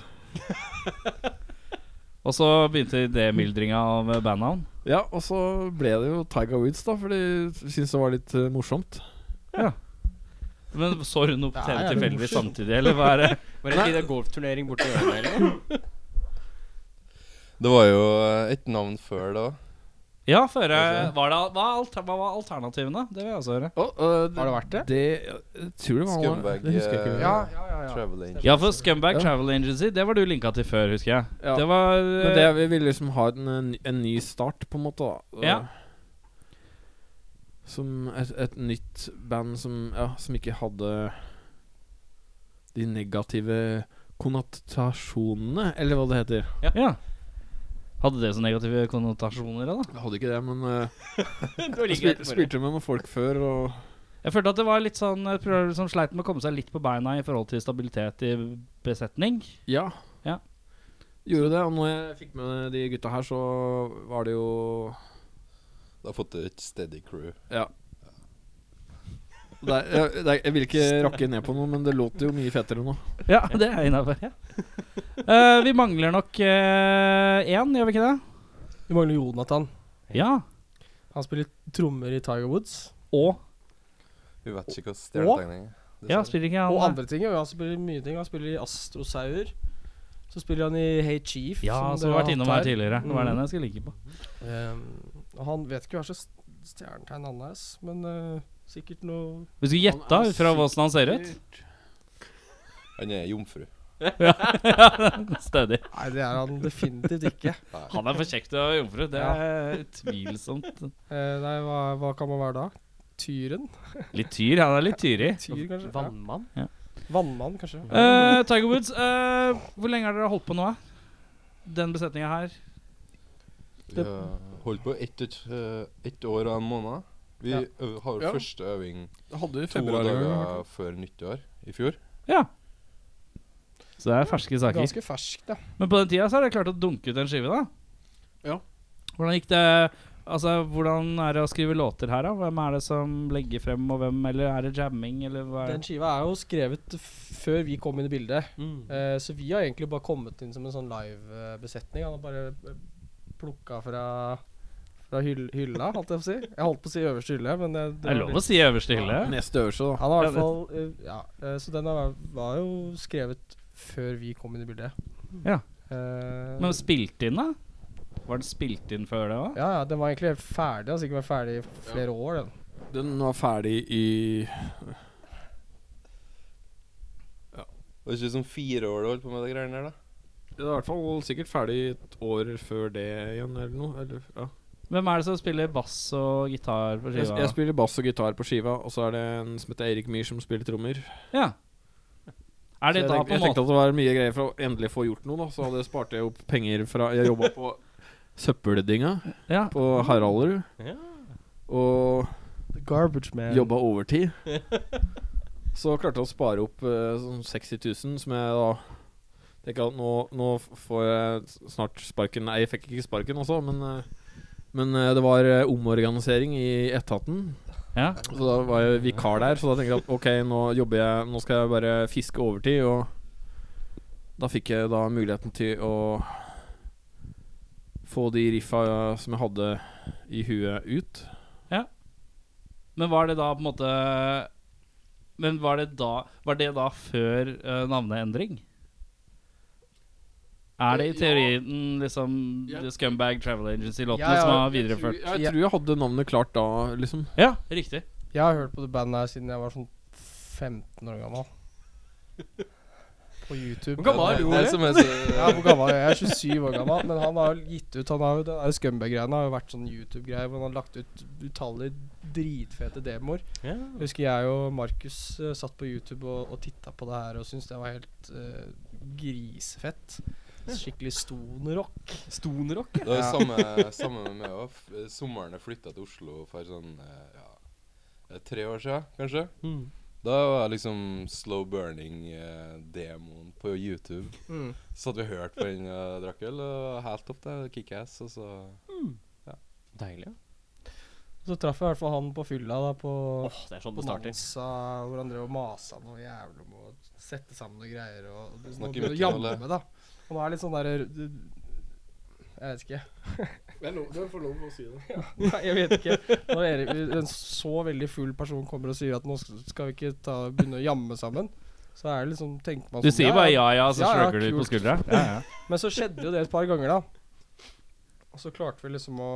B: Og så begynte demyldringa av bandnavn.
F: Ja, og så ble det jo Tiger Woods, da, for de syntes det var litt eh, morsomt.
B: Men så hun noe på
E: Ja,
B: TV
E: ja, det er
B: tilfeldigvis
E: morsomt.
B: samtidig, eller hva er det?
A: Var det ikke det golfturnering borti hjørnet, eller?
D: Det var jo eh, et navn før det òg.
B: Ja, føre var det, hva, er alter, hva var alternativene? Det vil jeg også høre.
E: Har det vært det?
F: øh, Det jeg tror det var
D: Scumbag,
F: Det husker jeg ikke.
D: eh,
F: Ja.
E: ja, ja.
D: Travel Angel.
B: Ja, for Scumbag
F: Ja.
B: Travel Agency, det var du linka til før, husker jeg.
F: Ja.
B: Det var eh,
F: Men det, vi ville liksom ha en, eh, ny- en ny start, på en måte. da Og-
B: Ja.
F: Som et, et nytt band som, ja, som ikke hadde de negative konnotasjonene, eller hva det heter.
B: ja. Hadde det så negative konnotasjoner, da?
F: Jeg hadde ikke det, men eh,
A: Det var
F: jeg
A: like greit
F: spil,
A: å bare-
F: spilte med noen folk før, og
B: Jeg følte at det var litt sånn et program som sleit med å komme seg litt på beina i forhold til stabilitet i besetning.
F: Ja.
B: Ja.
F: Gjorde det. Og når jeg fikk med de gutta her, så var det jo
D: Da har fått du et steady crew.
F: det er, jeg, det er, jeg vil ikke rakke ned på noe, men det låter jo mye fetere nå.
B: Ja, det er innafor. Ja. Eh, vi mangler nok én, gjør vi ikke det?
E: Vi mangler Jonathan.
B: Ja.
E: Han spiller trommer i Tiger Woods.
B: Og
D: Hun vet ikke hva stjernetegning er.
B: Ja,
D: dessverre.
B: spiller ikke han eh,
E: Og andre ting. ja, Han spiller mye ting. Han spiller i Astrosaur. Så spiller han i Hey Chief.
B: Ja, som
E: dere
B: har vært innom her
E: hatt
B: tidligere. Det var
E: Mm.
B: den jeg skulle ligge på.
E: Ehm, og han vet ikke hva slags stjernetegn han er, ass, men eh, sikkert noe
B: Hvis du gjetta
F: Han er
B: ut fra åssen han ser ut
D: sånn- Han er jomfru.
B: Stødig.
E: Nei, det er han definitivt ikke.
B: Han er for kjekk til å være jomfru. Det er utvilsomt.
E: Eh, nei, hva, hva kan man være da? Tyren?
B: Litt tyr. Han er litt tyrig.
E: Tyr, kanskje? Ja.
A: Vannmann?
E: Vannmann, kanskje?
B: Eh, Tiger Woods, eh, hvor lenge har dere holdt på nå? eh? Den besetninga her?
D: Vi har holdt på ett et, ett år og en måned. Vi
E: Ja.
D: øv- har
F: Ja.
D: første øving
F: Hadde
D: to dager før nyttår i fjor.
B: Ja. Så det er ferske saker.
E: Ganske fersk, da.
B: Men på den tida så har dere klart å dunke ut en skive, da.
F: Ja.
B: Hvordan gikk det Altså, hvordan er det å skrive låter her, da? Hvem er det som legger frem, og hvem Eller er det jamming, eller hva er
E: Den
B: det?
E: skiva er jo skrevet f- før vi kom inn i bildet,
A: Mm.
E: Eh, så vi har egentlig bare kommet inn som en sånn live-besetning. Han har bare plukka fra, fra hyll hylla, holdt jeg på å si. Jeg holdt på å si øverste hylle, men det,
B: Det
E: var
B: er lov
E: litt-
B: å si øverste hylle.
F: Neste øvelse, da.
E: Han har i
B: Ja,
E: hvert fall eh, Ja, eh, så den har- var jo skrevet før vi kom inn i bildet.
B: Ja.
E: Eh,
B: Men spilt inn, da? Var den spilt inn før det òg?
E: ja, ja, den var egentlig helt ferdig. Altså ikke vært ferdig i flere år, den.
F: Den var ferdig i
D: Det var ikke sånn fire år du holdt på med de greiene der, da.
F: Det var i hvert fall sikkert ferdig et år før det igjen, eller noe. Eller, ja.
B: Hvem er det som spiller bass og gitar på
F: jeg,
B: skiva?
F: jeg spiller bass og gitar på skiva, og så er det en som heter Eirik Myhr, som spiller trommer.
B: ja. Er det
F: Så jeg,
B: da
F: tenkte,
B: på
F: jeg
B: en måte
F: tenkte at det var mye greier for å endelig få gjort noe, da. Så hadde jeg spart jeg opp penger fra Jeg jobba på søppeldynga
B: ja.
F: på Haralderud.
A: Ja.
F: Og
E: The Garbage Man.
F: Jobba overtid. Så klarte jeg å spare opp eh, sånn 60 000, som jeg da tenker at nå, nå f- får jeg s- snart sparken. Nei, jeg fikk ikke sparken også, men, eh, men eh, det var eh, omorganisering i etaten.
B: Ja.
F: Så da var jeg vikar der, så da tenkte jeg at ok, nå jobber jeg Nå skal jeg bare fiske overtid, og da fikk jeg da muligheten til å få de riffa eh, som jeg hadde i huet, ut.
B: Men var det da på en måte Men var det da Var det da før eh, navneendring? Er det i teorien liksom
F: Ja.
B: The Scumbag Travel Agency-låtene
E: Ja, ja,
B: som har
F: Jeg tror,
B: videreført
F: jeg tror jeg hadde navnet klart da, liksom.
B: Ja, riktig.
E: Jeg har hørt på det bandet her siden jeg var sånn 15 år gammel. På YouTube.
A: Hvor gammel er du,
E: Det
A: Ole?
E: som er så Ja, hvor gammel er jeg? Jeg er 27 år gammel. Men han har jo gitt ut Han har jo Den der Scumbag-greiene har jo vært sånn YouTube-greier hvor han har lagt ut utallige dritfete demoer.
A: Ja.
E: Jeg husker jeg og Markus eh, satt på YouTube og, og titta på det her og syntes det var helt eh, grisfett. Skikkelig stonerock.
A: Stonerock,
D: Det var
E: Ja.
D: samme, samme med meg òg. Sommeren jeg flytta til Oslo for sånn eh, ja, eh, tre år siden, kanskje.
A: Mm.
D: Da var liksom slow burning-demoen på YouTube.
E: Mm.
D: Så hadde vi hørt på den og drakk øl, og helt topp, det. Kickass, og så
A: Deilig. ja.
E: Så traff jeg i hvert fall han på fylla da på
A: Åh, det er sånn
E: på
A: det starter.
E: Nansa, hvor han drev og masa noe jævlig om å sette sammen noen greier og, og
D: Snakker
E: begynner å
D: mye om
E: jamme
D: det.
E: med, da. Og nå er det litt sånn derre Jeg vet ikke.
F: Det er, for lov å si det.
E: Nei, jeg vet ikke. Når Erik, en så veldig full person kommer og sier at nå skal vi ikke ta, begynne å jamme sammen, så er det liksom tenker man
B: Du
E: sånn,
B: sier bare ja ja, så
E: Ja, ja,
B: slugger du på
E: kult.
B: skuldra. Ja, ja.
E: Men så skjedde jo det et par ganger, da. Og så klarte vi liksom å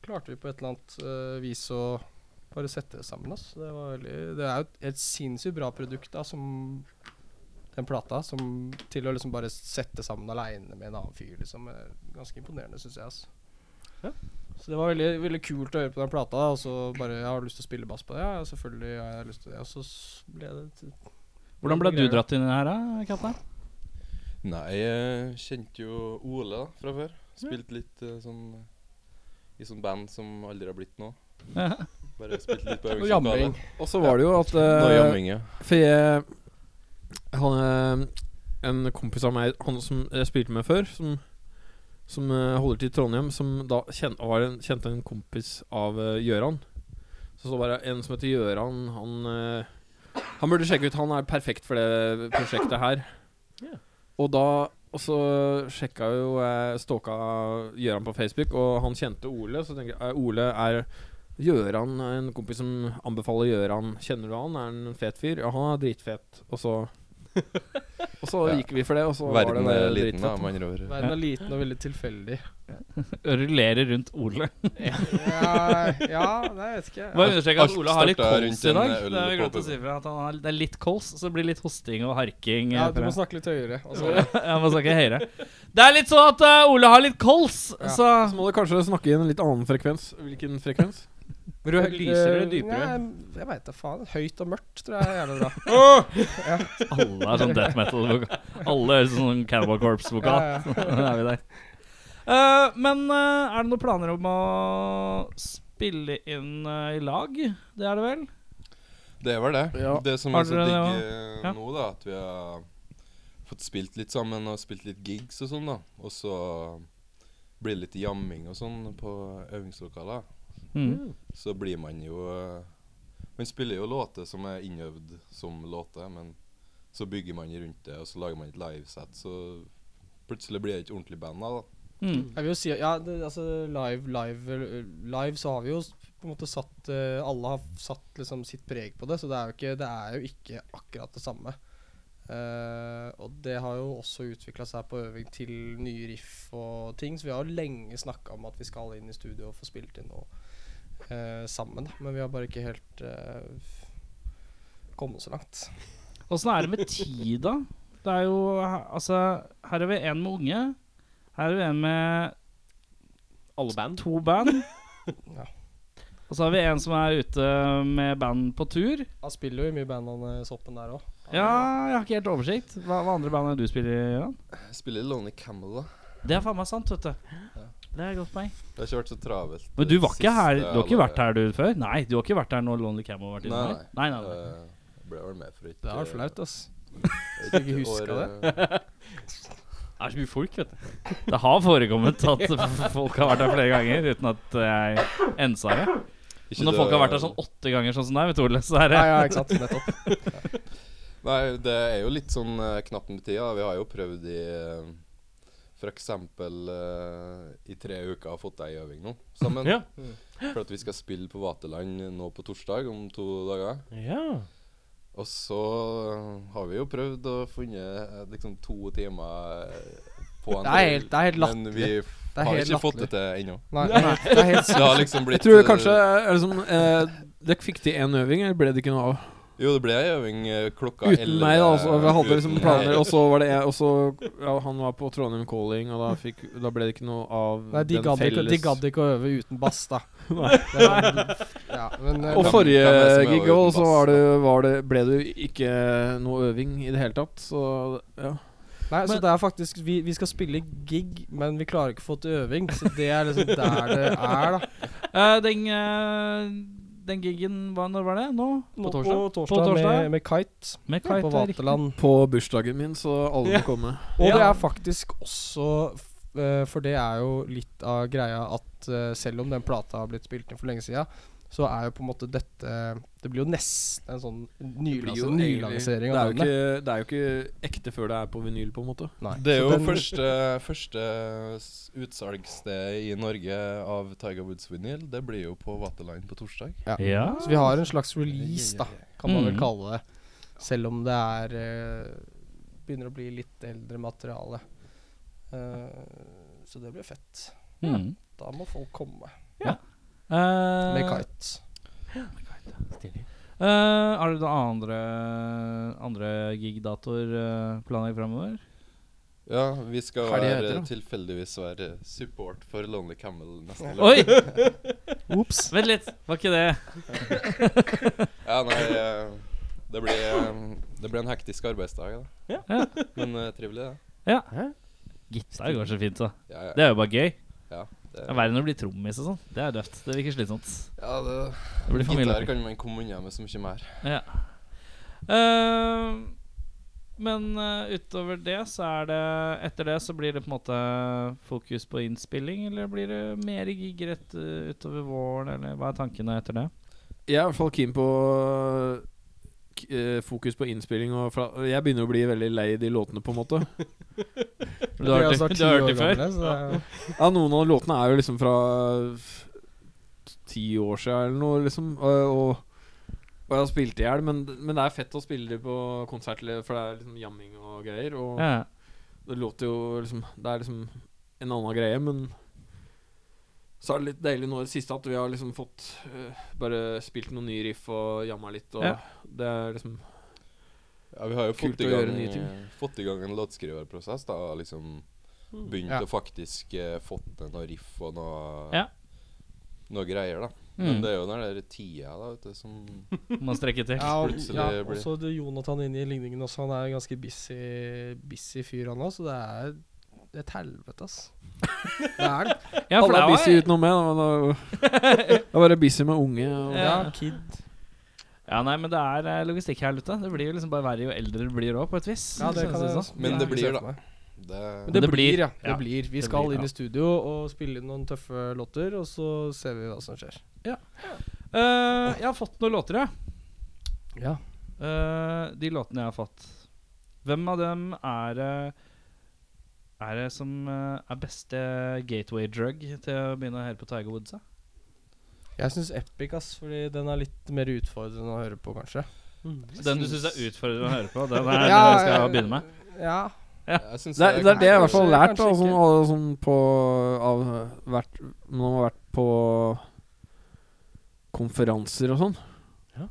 E: Klarte vi på et eller annet eh, vis å bare sette det sammen. Altså. Det, var veldig, det er jo et, et sinnssykt bra produkt da, som den plata, som til å liksom bare sette sammen aleine med en annen fyr, liksom. er Ganske imponerende, syns jeg. Altså.
A: Ja.
E: Så det var veldig, veldig kult å høre på den plata, da, og så bare Jeg har lyst til å spille bass på det, ja, ja, selvfølgelig har jeg lyst til det. Og så s- ble det til
B: Hvordan ble du dratt inn i det her, da, Katta?
D: Nei, jeg kjente jo Ole da, fra før. Spilt litt eh, sånn i sånn band som aldri har blitt noe. Bare spilt litt på
E: Og jamming.
F: Og så var det jo at eh,
D: Noe jamming, ja.
F: For jeg han, eh, En kompis av meg Han som jeg spilte med før Som, som eh, holder til i Trondheim Som da kjen, var en, kjente en kompis av eh, Gjøran Så så var det en som heter Gjøran Han, eh, han burde sjekke ut Han er perfekt for det prosjektet her
A: Ja.
F: Og da og så sjekka jo eh, Stalka Gjøran på Facebook, og han kjente Ole. Så tenker jeg eh, Ole er Gjøran er en kompis som anbefaler Gjøran. Kjenner du han? Er han en fet fyr? Ja, han er dritfet. Og så Og så
D: Ja.
F: gikk vi for det, og så
D: Verden
F: var det
D: er
F: det
D: liten, da,
F: dritfett.
D: med andre ord.
E: Verden er liten og veldig tilfeldig.
B: Rullere rundt Ole.
E: ja, ja, nei, jeg vet ikke.
B: Bare understreke at
D: alt
B: Ole har litt
D: starta
B: kols
D: rundt
B: i
D: en eh,
B: dag.
D: øl
B: Det er jo
D: på
B: greit å si fra at han har, det er litt kols, så det blir litt hosting og harking.
E: Ja,
B: eh,
E: du
B: fra-
E: må snakke litt høyere. Altså,
B: Jeg må snakke høyere. Det er litt sånn at eh, Ole har litt kols,
E: Ja.
B: så
F: Så må du kanskje snakke i en litt annen frekvens. Hvilken frekvens?
A: Vil du lysere eller dypere?
E: Nei, jeg veit da faen. Høyt og mørkt tror jeg er jævlig bra.
B: Alle er sånn death metal-vokal. Alle høres ut som Cannibal Corpse-vokal.
E: Ja, ja.
B: Da er vi der. Eh, men eh, er det noen planer om å spille inn eh, i lag? Det er det vel?
D: Det var det.
F: Ja.
D: Det som
B: Har
D: er så
B: dere det
D: digg
B: også?
D: eh,
B: Ja.
D: nå, da, at vi har fått spilt litt sammen og spilt litt gigs og sånn, da. Og så blir det litt jamming og sånn på øvingslokaler.
B: Mm.
D: Så blir man jo eh, Man spiller jo låter som er innøvd som låter, men så bygger man rundt det, og så lager man et livesett, så plutselig blir det et ordentlig band av, da.
B: Mm.
E: Jeg vil jo si ja, det, altså live, live, eh, live så har vi jo s- på en måte satt eh, Alle har satt liksom sitt preg på det, så det er jo ikke, det er jo ikke akkurat det samme. Eh, og det har jo også utvikla seg på øving til nye riff og ting, så vi har jo lenge snakka om at vi skal inn i studio og få spilt inn noe eh, sammen, da. Men vi har bare ikke helt eh, kommet så langt.
B: Åssen er det med tid, da? Det er jo Altså, her er vi en med unge. Her er vi en med
A: Alle band?
B: to band.
E: Ja.
B: Og så har vi en som er ute med band på tur.
E: Han spiller jo i mye band han eh, Soppen der òg.
B: Ja, jeg har ikke helt oversikt. Hva, hva andre band er det du spiller i? Jørgen?
D: Jeg spiller Lonely Camel, da.
B: Det er faen meg sant, vet du. Det er godt meg.
D: Det har ikke vært så travelt.
B: Men du
D: det
B: var ikke her Du
D: siste
B: har ikke vært
D: halvåret.
B: her du før? Nei, du har ikke vært her når Lonely Cam har vært inne? her? Nei, nei, nei.
D: Eh, Jeg ble vel med for ikke
E: Det er flaut, ass.
D: et
E: jeg ikke husker
D: år, eh,
A: Det er så mye folk, vet du.
B: Det har forekommet at folk har vært her flere ganger uten at jeg ensa det.
D: eh, Ikke
B: Men når
D: det-
B: folk har vært der sånn åtte ganger, sånn som deg, vet du, Ole, så er det
E: Ja, ja, ikke sant. Nettopp.
D: Nei, det er jo litt sånn eh, knapt med tida. Vi har jo prøvd i eh, for eksempel eh, i tre uker har fått ei øving nå sammen. Mm.
A: Ja.
D: For at vi skal spille på Vaterland nå på torsdag om to dager.
A: Ja.
D: Og så eh, har vi jo prøvd å finne eh, liksom to timer eh, på en
E: Det er helt, det er helt
D: Men vi
E: latterlig.
D: f-
E: Det er
D: har
E: helt
D: ikke fått
E: latterlig.
D: det til ennå.
E: Nei, nei, det er helt
D: Det
E: sykt.
D: har liksom blitt
F: Jeg tror
D: eh,
F: kanskje er det sånn, eh, Dere fikk til én øving, eller ble det ikke noe av?
D: Jo, det ble ei øving eh, klokka
F: Uten meg, da. Altså, vi hadde liksom
D: uten
F: planer,
D: meg.
F: og så var det jeg, og så ja, Han var på Trondheim Calling, og da, fikk, da ble det ikke noe av
E: Nei, de
F: den
E: gadd ikke,
F: felles
E: de gadd ikke å øve uten bass, da.
F: Nei.
E: Det var- Ja, men eh,
F: Og
D: Hvem-
F: forrige
D: hvem er det som er
F: gig
D: uten
F: òg, så
D: bass,
F: var
D: da?
F: det, var det, ble det jo ikke noe øving i det hele tatt, så ja.
E: Nei, så
B: Men-
E: det er faktisk vi, vi skal spille gig, men vi klarer ikke å få til øving. Så det er liksom der det er, da.
B: Eh, Den, eh, den gigen var, Når var det? Nå?
E: På
B: torsdag?
E: På torsdag,
B: På torsdag?
E: Med, med Kite,
B: Med Kite,
E: på
B: det er riktig.
E: Vaterland.
F: På bursdagen min, så alle
B: Ja.
F: må komme.
E: Og det
B: Ja.
E: er faktisk også f- eh, For det er jo litt av greia at eh, selv om den plata har blitt spilt inn for lenge sida, så er jo på en måte dette Det blir jo nesten en sånn
F: blir
E: nylanse-
F: jo
E: nylansering
F: Det er,
E: av
F: jo
E: bandet.
F: ikke, det er jo ikke ekte før det er på vinyl, på en måte.
E: Nei,
D: Det er
E: så
D: jo
E: den-
D: første, første s- utsalgssted i Norge av Tiger Woods vinyl. Det blir jo på Vaterland på torsdag.
E: Ja.
B: Ja.
E: Så vi har en slags release, da, kan man
B: Mm.
E: vel kalle det. Selv om det er eh, Begynner å bli litt eldre materiale. Eh, så det blir fett.
B: Mm.
E: Da må folk komme
B: Eh,
E: med kite.
B: eh, har du noen andre, andre gigdatoer uh, planlagt framover?
D: Ja, vi skal
F: Hva er det
D: være,
F: heter, da?
D: tilfeldigvis være support for Lonely Camel neste lørdag.
B: Oi! Ops. Vent litt, var ikke det
D: Ja, nei, eh, det blir, eh, det blir en hektisk arbeidsdag, da.
B: Ja.
D: Men eh, trivelig, det.
B: Gitar går så fint, da.
D: Ja, ja,
B: Det er jo bare gøy.
D: ja,
B: Det
D: det,
B: er Verre enn å bli trommis og sånn. Det er døvt. Det virker slitsomt.
D: ja, det
B: Det blir
D: Gitar
B: familie.
D: kan man komme unna med så mye mer.
B: Ja. Eh, men eh, utover det så er det Etter det så blir det på en måte fokus på innspilling, eller blir det mer gig rett eh, utover våren, eller hva er tankene etter det?
F: Jeg er i hvert fall keen på k eh, fokus på innspilling. Og fra jeg begynner å bli veldig lei de låtene, på en måte.
B: Du har hørt det- altså du har hørt det før?
F: Ja, Noen av låtene er jo liksom fra f- ti år siden eller noe, liksom. Og, og, og jeg har spilt i hjel, men, men det er fett å spille det på konsert, eller- for det er liksom jamming og greier. Og
B: Ja.
F: det låter jo liksom Det er liksom en annen greie, men så er det litt deilig nå i det siste at vi har liksom fått eh, Bare spilt noen nye riff og jamma litt, og
B: Ja.
F: det er liksom
D: Ja, vi har jo
F: Kult
D: fått i,
F: å gjøre
D: gang,
F: nye ting.
D: eh, fått i gang en låtskriverprosess. da, og liksom
B: Mm.
D: Begynt
E: Ja.
D: å faktisk eh, fått til noe riff og noe,
B: Ja.
D: noe greier, da.
F: Mm.
D: Men det er jo den der tida da, vet du, som
B: Mm. Må strekke til.
E: Ja, og,
D: Plutselig
E: ja,
D: blir-
E: også det Jonathan inne i ligningen også. Han er en ganske busy, busy fyr, han òg, så det er det er et helvete, ass. Det er det.
B: Ja, for
F: Alle
B: det
F: er
B: var-
F: busy utenom meg. da, men da- Jeg er bare busy med unge. Og,
B: Ja.
E: Ja, kid.
B: Ja, nei, men det er eh, logistikk her, Lutta. Det blir jo liksom bare verre jo eldre du blir òg, på et vis.
E: Ja, det
B: synes jeg
E: kan jeg
B: sånn.
E: også-
D: Men det
E: kan jeg
D: blir
E: se
D: da.
E: for meg.
D: det,
E: Men
B: Men
E: det,
B: det
E: blir,
B: blir,
E: ja.
B: ja.
E: Det blir. Vi
B: Det
E: skal
B: blir,
E: inn
B: ja.
E: i studio og spille inn noen tøffe låter, og så ser vi hva som skjer.
B: Eh, jeg har fått noen låter, jeg.
E: Ja.
B: Eh, de låtene jeg har fått. Hvem av dem er det Er det som eh, er beste gateway drug til å begynne å høre på Tiger Woods? da?
E: Jeg syns Epic, ass, fordi den er litt mer utfordrende å høre på, kanskje.
B: Den du syns er utfordrende å høre på? Den er
E: Ja,
B: den jeg skal
E: eh,
B: begynne med?
E: Ja.
D: jeg synes
F: Det er, det er det jeg i hvert fall har
E: Kanskje-
F: lært da,
E: kanskje
F: sånn,
E: ikke.
F: av- sånn på av, vært, Når man har vært på konferanser og sånn.
A: Ja.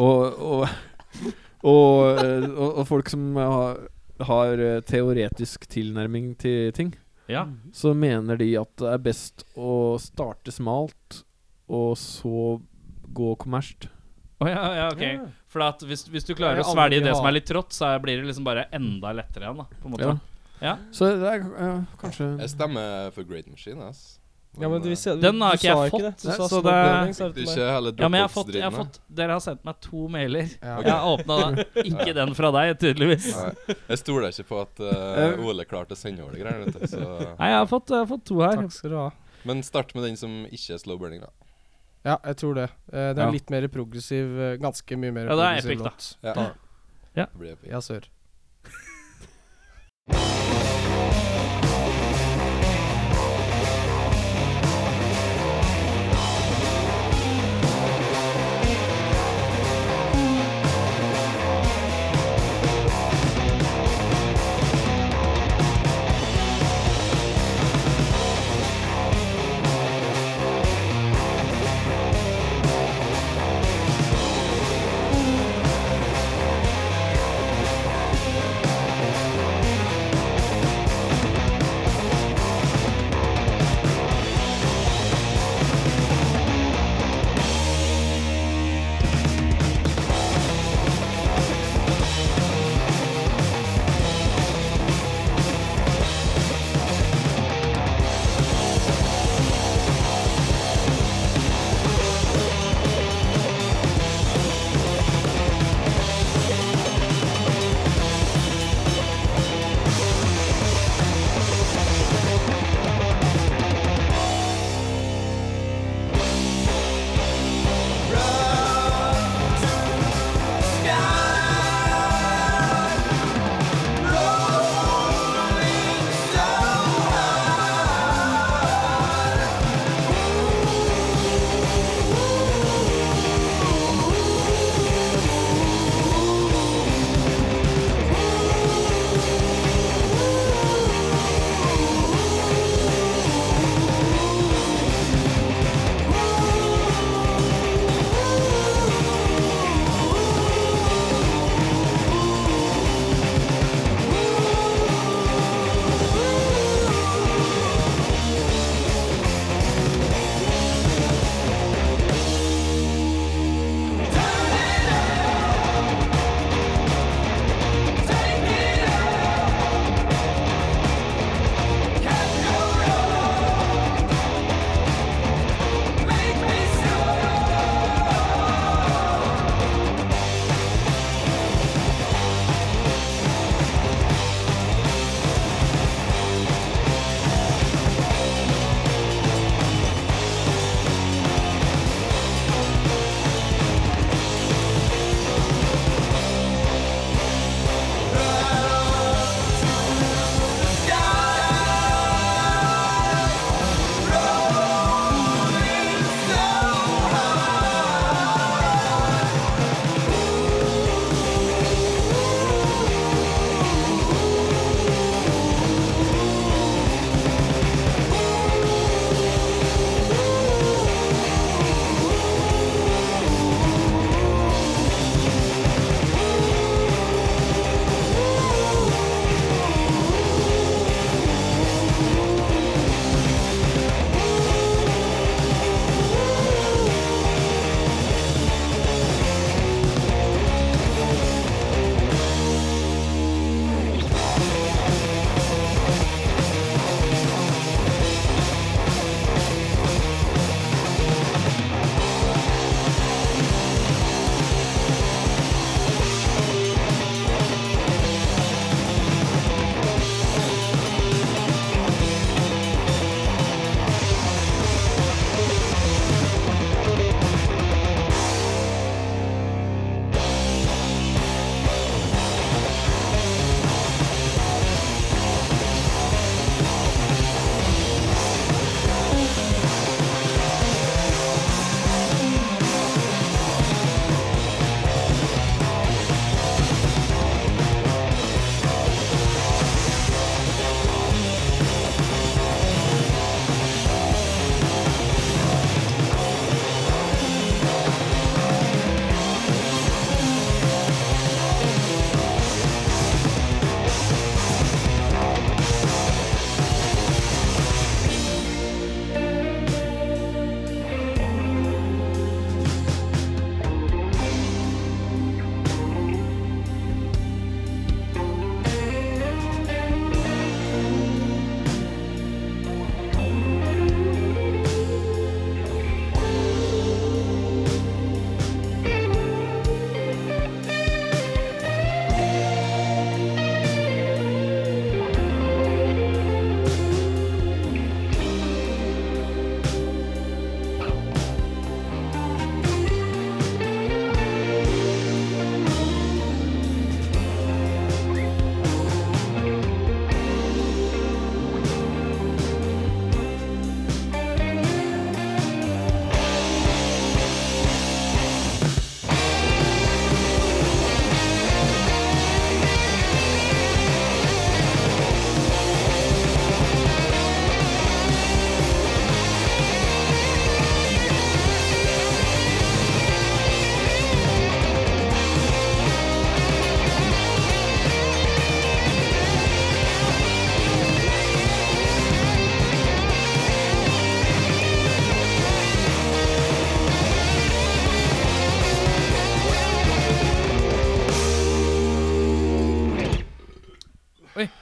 F: Og, og, og, eh, og, og folk som har, har eh, teoretisk tilnærming til ting,
B: Ja.
E: Mm.
F: så mener de at det er best å starte smalt, og så gå kommersielt.
B: Å ja, ja, ok. For at hvis, hvis du klarer
E: Det er
B: å svelge
E: aldri
B: det
E: ha-
B: som er litt trått, så er- blir det liksom bare enda lettere igjen, da. På en måte.
F: Ja.
B: Ja.
F: Så det er eh, kanskje
D: Jeg stemmer for Great Machine, ass.
E: Ja, men du,
D: eh,
E: ser-
B: Den har
E: du
B: ikke jeg
E: sa
B: fått,
E: det. Du
B: nei,
E: sa
B: så
E: så
B: det-
E: det
D: Fikk du ikke hele
B: Ja, men jeg har fått, jeg har
D: Dropbox-dritten, da?
B: fått Dere har sendt meg to mailer.
E: Ja.
D: Ok.
B: Jeg har åpna den. Ikke den fra deg, tydeligvis.
D: Nei, jeg stoler ikke på at eh, Ole klarte å sende over de greiene. vet du, Så.
B: Nei, jeg har fått, jeg har fått to her.
E: Takk skal du ha.
D: Men start med den som ikke er slow burning, da.
E: Ja, jeg tror det. Eh, det er
B: Ja.
E: litt mer progressiv. eh, Ganske mye mer
B: Ja, det er
E: progressiv
B: epic, da.
E: låt.
D: Ja.
E: Da-
D: Det blir epic.
E: Ja, sør.
G: Thank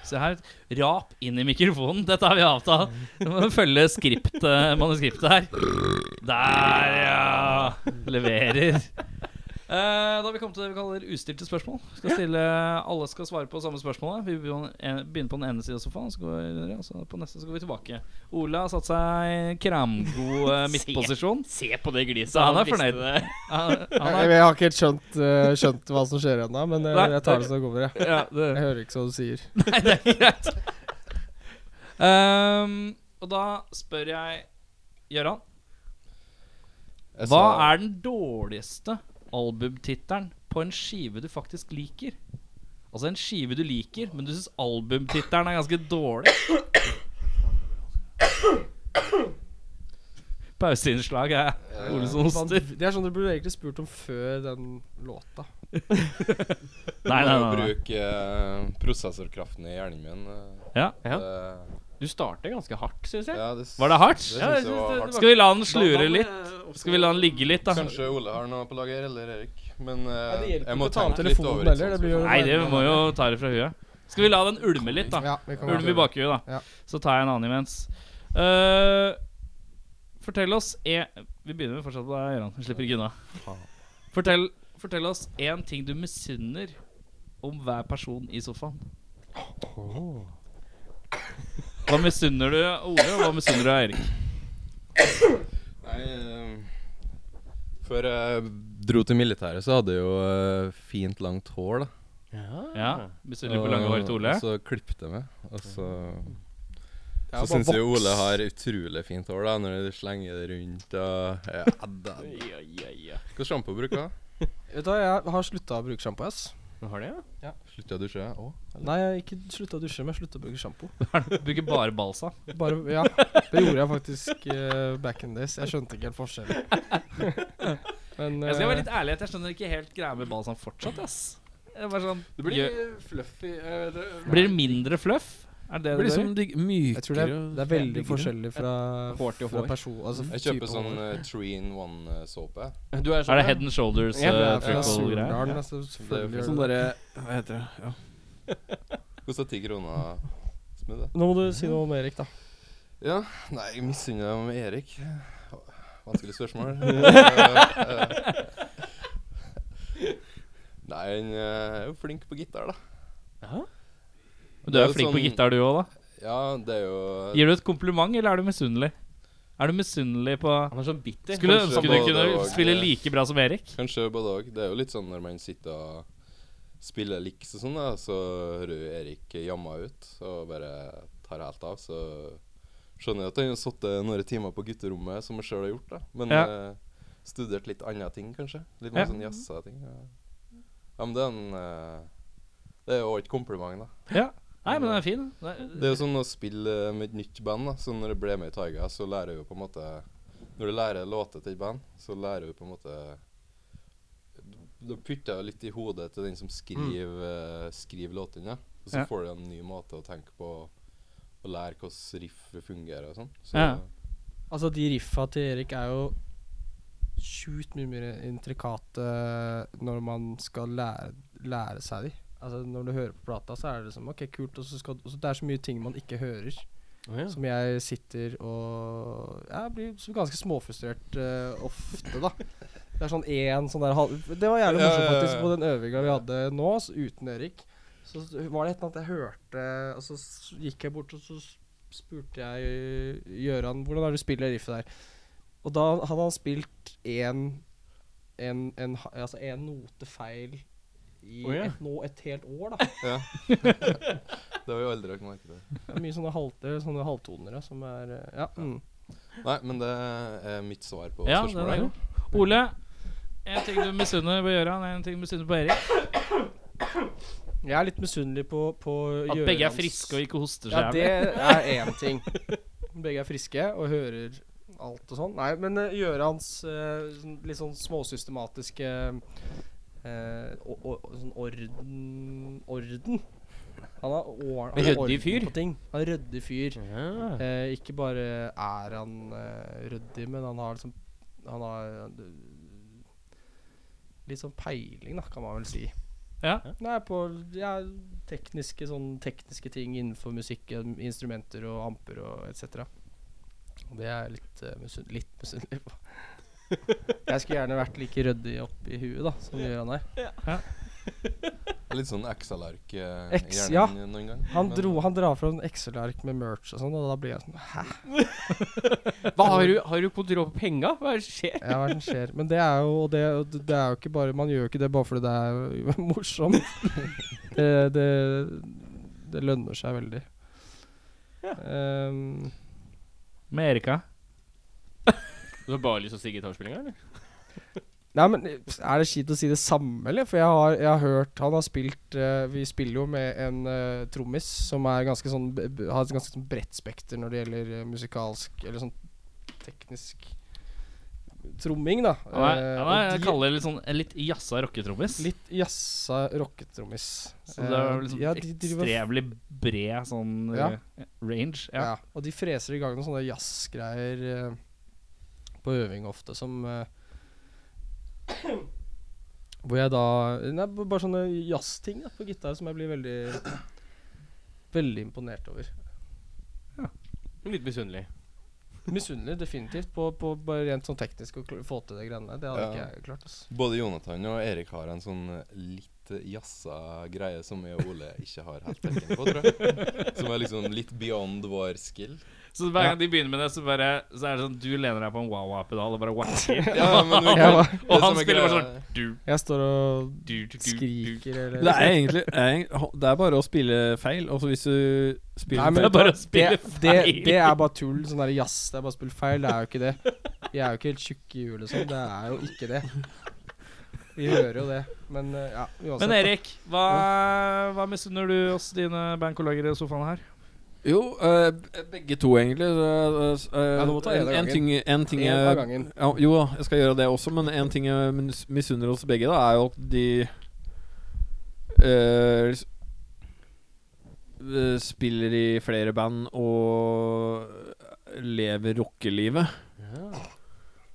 B: Se her. Rap inn i mikrofonen. Dette har vi avtalt. Nå må du følge skript, eh, manuskriptet her. Der, ja. Leverer. Eh, da har vi kommet til det vi kaller ustilte spørsmål. Skal stille, alle skal svare på samme spørsmål. Vi begynner på den ene siden av sofaen, så går vi videre, og så på neste så går vi tilbake. Ola har satt seg kramgod eh, midtposisjon.
G: Se på det gliset.
B: Så han er
G: visste
B: fornøyd.
G: det.
B: Han, han
E: Jeg,
B: er,
E: jeg har ikke helt skjønt, eh, skjønt hva som skjer ennå, men eh,
B: Nei,
E: jeg tar det som det kommer. Jeg.
B: ja, det,
E: jeg hører ikke hva du sier.
B: Nei, det er greit. Ehm, og da spør jeg Gøran.
D: Jeg
B: Hva
D: sa-
B: er den dårligste albumtittelen på en skive du faktisk liker? Altså en skive du liker, men du syns albumtittelen er ganske dårlig. Pauseinnslag er Ole som hoster.
E: Det er sånn du burde egentlig spurt om før den låta.
B: Nei, nei, nei, nei.
D: Bruk eh, prosessorkraften i hjernen min. eh.
B: Ja.
G: Ja.
D: Det,
G: Du starter ganske hardt, syns jeg.
D: ja, det, s-
B: Var det hardt?
D: Det
G: Ja, jeg
D: synes jeg var
G: synes
D: hardt.
B: Skal vi la den
G: Da- da
B: slure
G: må
B: litt?
G: jeg også-
B: Skal vi la den ligge litt, da?
D: Kanskje Ole har noe på lager, eller Erik. Men eh,
E: det hjelper
D: jeg må
E: ikke å ta
D: tenke
E: med
D: litt
E: telefonen
D: over et
E: heller,
D: sånt
E: det blir jo-
D: spørsmål.
B: Nei, det må jo ta det fra huet. Skal vi la den ulme litt, da?
E: Ja, vi
B: Ulv
E: kan
B: i
E: gjøre det.
B: bakhuet, da.
E: Ja.
B: Så tar jeg en annen imens. Eh, fortell oss e Vi begynner fortsatt på deg, Gøran. Vi slipper ikke unna. Fortell, fortell oss én ting du misunner om hver person i sofaen. Hva misunner du Ole, og hva misunner du Eirik?
D: Nei, eh, Før jeg dro til militæret, så hadde jeg jo eh, fint, langt hår. da
G: Ah.
B: Ja, Misunner du på lange hår til Ole?
D: Og så klippet jeg meg. Og så
E: Ja, bare
D: så syns jeg
E: voks.
D: Ole har utrolig fint hår da når du slenger det rundt og ja, da.
G: Ja, ja, ja.
D: Hva sjampo bruker du?
E: Vet du hva, jeg har slutta å bruke sjampo, ass.
G: Du Har det, ja?
D: Slutta å dusje? Å.
E: Nei, jeg har ikke slutta å dusje, men jeg slutta å bruke sjampo.
B: Bruker bare balsa.
E: Bare, ja, det gjorde jeg faktisk eh, back in days. Jeg skjønte ikke helt forskjellen. men
B: Jeg skal
E: eh,
B: være litt ærlig, at jeg skjønner ikke helt greia med balsam fortsatt. ass Det er bare sånn
D: Det
B: gjør-
D: fluffy
B: blir det mindre fluff? Er det
F: Det
B: det
F: blir
B: du
F: liksom digg- mykere
E: jeg tror det er, det er veldig
F: diggere.
E: forskjellig fra,
G: Hår til
E: fra
G: hår.
E: person altså,
D: Jeg kjøper
E: type
D: sånn eh,
E: hår.
D: three in one-såpe.
G: Du er,
A: sånn,
B: Er det Head and Shoulders
G: Ja,
E: Det
B: uh,
E: er fra
B: greier
E: Surdalen. altså,
D: eh, Det
E: selvfølgelig
D: er
E: gjør
F: Sånn
E: det.
F: derre Hva heter det? Ja.
D: Kosta ti kroner. Smooth, det.
E: Nå må du si noe om Erik, da.
D: Ja. Nei, jeg misunner dem Erik. Vanskelig spørsmål. Eh, eh. Nei, han eh, er jo flink på gitar, da.
B: Men Du er jo flink på
D: Sånn-
B: gitar, du òg, da.
D: Ja, det er jo
B: Gir du et kompliment, eller er du misunnelig? Er du misunnelig på
G: Han er sånn bitter.
B: Skulle
D: Kanskje
B: ønske du
D: både
B: kunne
D: og,
B: spille
D: eh,
B: like bra som Erik.
D: Kanskje både òg. Det er jo litt sånn når man sitter og spiller liks og sånn, da, så hører du Erik jamma ut og bare tar helt av, så skjønner jeg at han har sittet noen timer på gutterommet, som jeg sjøl har gjort, da. Men
B: Ja.
D: eh, studert litt andre ting, kanskje. Litt
B: Ja.
D: mer sånn jazza ting. Ja. ja, men det er en eh, Det er jo også et kompliment, da.
B: Ja. Nei, men den er fin. da.
D: Det er jo sånn å spille eh, med et nytt band, da. Så når jeg ble med i Taiga, så lærer jeg jo på en måte Når du lærer låter til et band, så lærer du på en måte Da putter jeg litt i hodet til den som skriver, eh, skriver låtene. Ja. Og så
B: Ja.
D: får du en ny måte å tenke på og lære hvordan riff fungerer og sånn. Så
B: Ja.
E: Altså, de riffa til Erik er jo sjukt mye mer intrikate eh, når man skal lære, lære seg de. Altså, når du hører på plata, så er det liksom OK, kult. Og så skal, og så det er så mye ting man ikke hører.
G: Å, ja.
E: Som jeg sitter og Jeg blir så ganske småfrustrert eh, ofte, da. Det er sånn én sånn der halv- Det var jævlig
D: Ja,
E: morsomt,
D: ja, ja,
E: faktisk,
D: ja.
E: på den øvinga vi hadde nå, s- uten Erik. Så s- var det et eller annet jeg hørte, og så s- gikk jeg bort, og så s- spurte jeg Gjøran hvordan er det du spiller riffet der. Og da hadde han spilt én en, en, ha- altså en note feil i
G: Å, ja.
E: et, nå et helt år, da.
D: det har vi aldri lagt merke til.
E: Det er mye sånne, halte, sånne halvtonere som er eh, Ja. Mm.
D: Nei, men det er mitt svar på
B: Ja, den er
D: spørsmålet.
B: god. Ole, en ting du misunner på Gøran, en ting du misunner på Erik.
E: Jeg er litt misunnelig på, på
B: At begge er friske og ikke hoster
E: Ja,
B: seg
E: det
B: jævlig.
E: er én ting. Begge er friske og hører alt og sånn. Nei, men uh, Gjørans eh, sånn- litt sånn småsystematiske eh, o- o- sånn orden Orden. Han har or- han har
G: Ryddig
E: orden
G: fyr.
E: på ting. Han er ryddig fyr.
G: Ja.
E: Eh, ikke bare er han eh, ryddig, men han har liksom Han har eh, litt sånn peiling, da, kan man vel si.
B: Ja.
E: Nei, på ja, tekniske, sånn, tekniske ting innenfor musikk, eh, instrumenter og amper og etc. Og det er jeg litt, eh, misunn- litt misunnelig på. jeg skulle gjerne vært like ryddig oppi huet da, som Gøran er.
D: Litt sånn Excel-ark eh, i
E: Ex-
D: hjernen
E: ja.
D: noen gang.
E: Han,
D: men-
E: dro, han drar fra en Excel-ark med merch og sånn, og da blir jeg sånn Hæ?
A: Hva, har, du, har du kontroll på penga? Hva er det som skjer?
E: Ja, hva er det som skjer? Men det er jo og det, og det er jo ikke bare Man gjør jo ikke det bare fordi det er morsomt. det, det, det lønner seg veldig. Ehm,
B: Med Erika.
G: Du har bare lyst til å si gitarspillinga, eller?
E: nei, men er det kjipt å si det samme, eller? For jeg har, jeg har hørt Han har spilt eh, Vi spiller jo med en eh, trommis som er ganske sånn b- b- har et ganske sånn bredt spekter når det gjelder eh, musikalsk Eller sånn teknisk tromming, da.
B: Han er,
E: Eh,
B: han er
E: og
B: jeg
E: de-
B: kaller det litt sånn en litt jazza rocketrommis.
E: Litt jazza rocketrommis. Eh,
B: Så det er liksom
E: ja, de driver-
B: ekstremelig bred sånn
E: Ja.
B: eh, range.
E: Ja.
B: Ja.
E: Og de freser i gang noen sånne jazzgreier eh, på øving ofte som eh, Hvor jeg da Nei, b- bare sånne jazzting da, på gitar som jeg blir veldig Veldig imponert over.
A: Litt misunnelig.
E: Misunnelig definitivt på, på bare rent sånn teknisk å kl- få til de greiene der. Det hadde
D: Ja.
E: ikke jeg klart. ass.
D: Både Jonathan og Erik har en sånn eh, litt eh, jazza greie som jeg og Ole ikke har helt pekken på, tror jeg. Som er liksom litt beyond vår skill.
B: Så hver gang de begynner med det, så, bare, så er det sånn Du lener deg på en wah-wah-pedal og bare whacker.
D: Ja, men vi-
E: Jeg, var-
D: det
B: og han
D: som er
B: spiller bare
D: greia-
B: sånn du,
E: jeg står og
B: du, du, du, du.
E: skriker eller
F: Det er egentlig er eng- Det er bare å spille feil. Og så hvis du spiller
E: Nei, men
B: Det er bare å
E: det,
B: spille
E: det,
B: feil.
E: det er bare tull. Sånn der jazz, det er bare spilt feil. Det er jo ikke det. Vi er jo ikke helt tjukke i huet, liksom. Det er jo ikke det. Vi hører jo det. Men eh, ja, uansett.
B: Men Erik, hva, hva misunner du oss dine bandkolleger i sofaen her?
F: feil Jo, eh, begge to, egentlig. Eh, eh,
E: Ja, du må ta en
F: en,
E: av
F: en
E: gangen.
F: ting, en ting
E: En
F: jeg-
E: av gangen.
F: Ja, jo da, jeg skal gjøre det også, men en ting jeg mis- misunner oss begge, da, er jo at de eh, lis- eh, Spiller i flere band og lever rockelivet.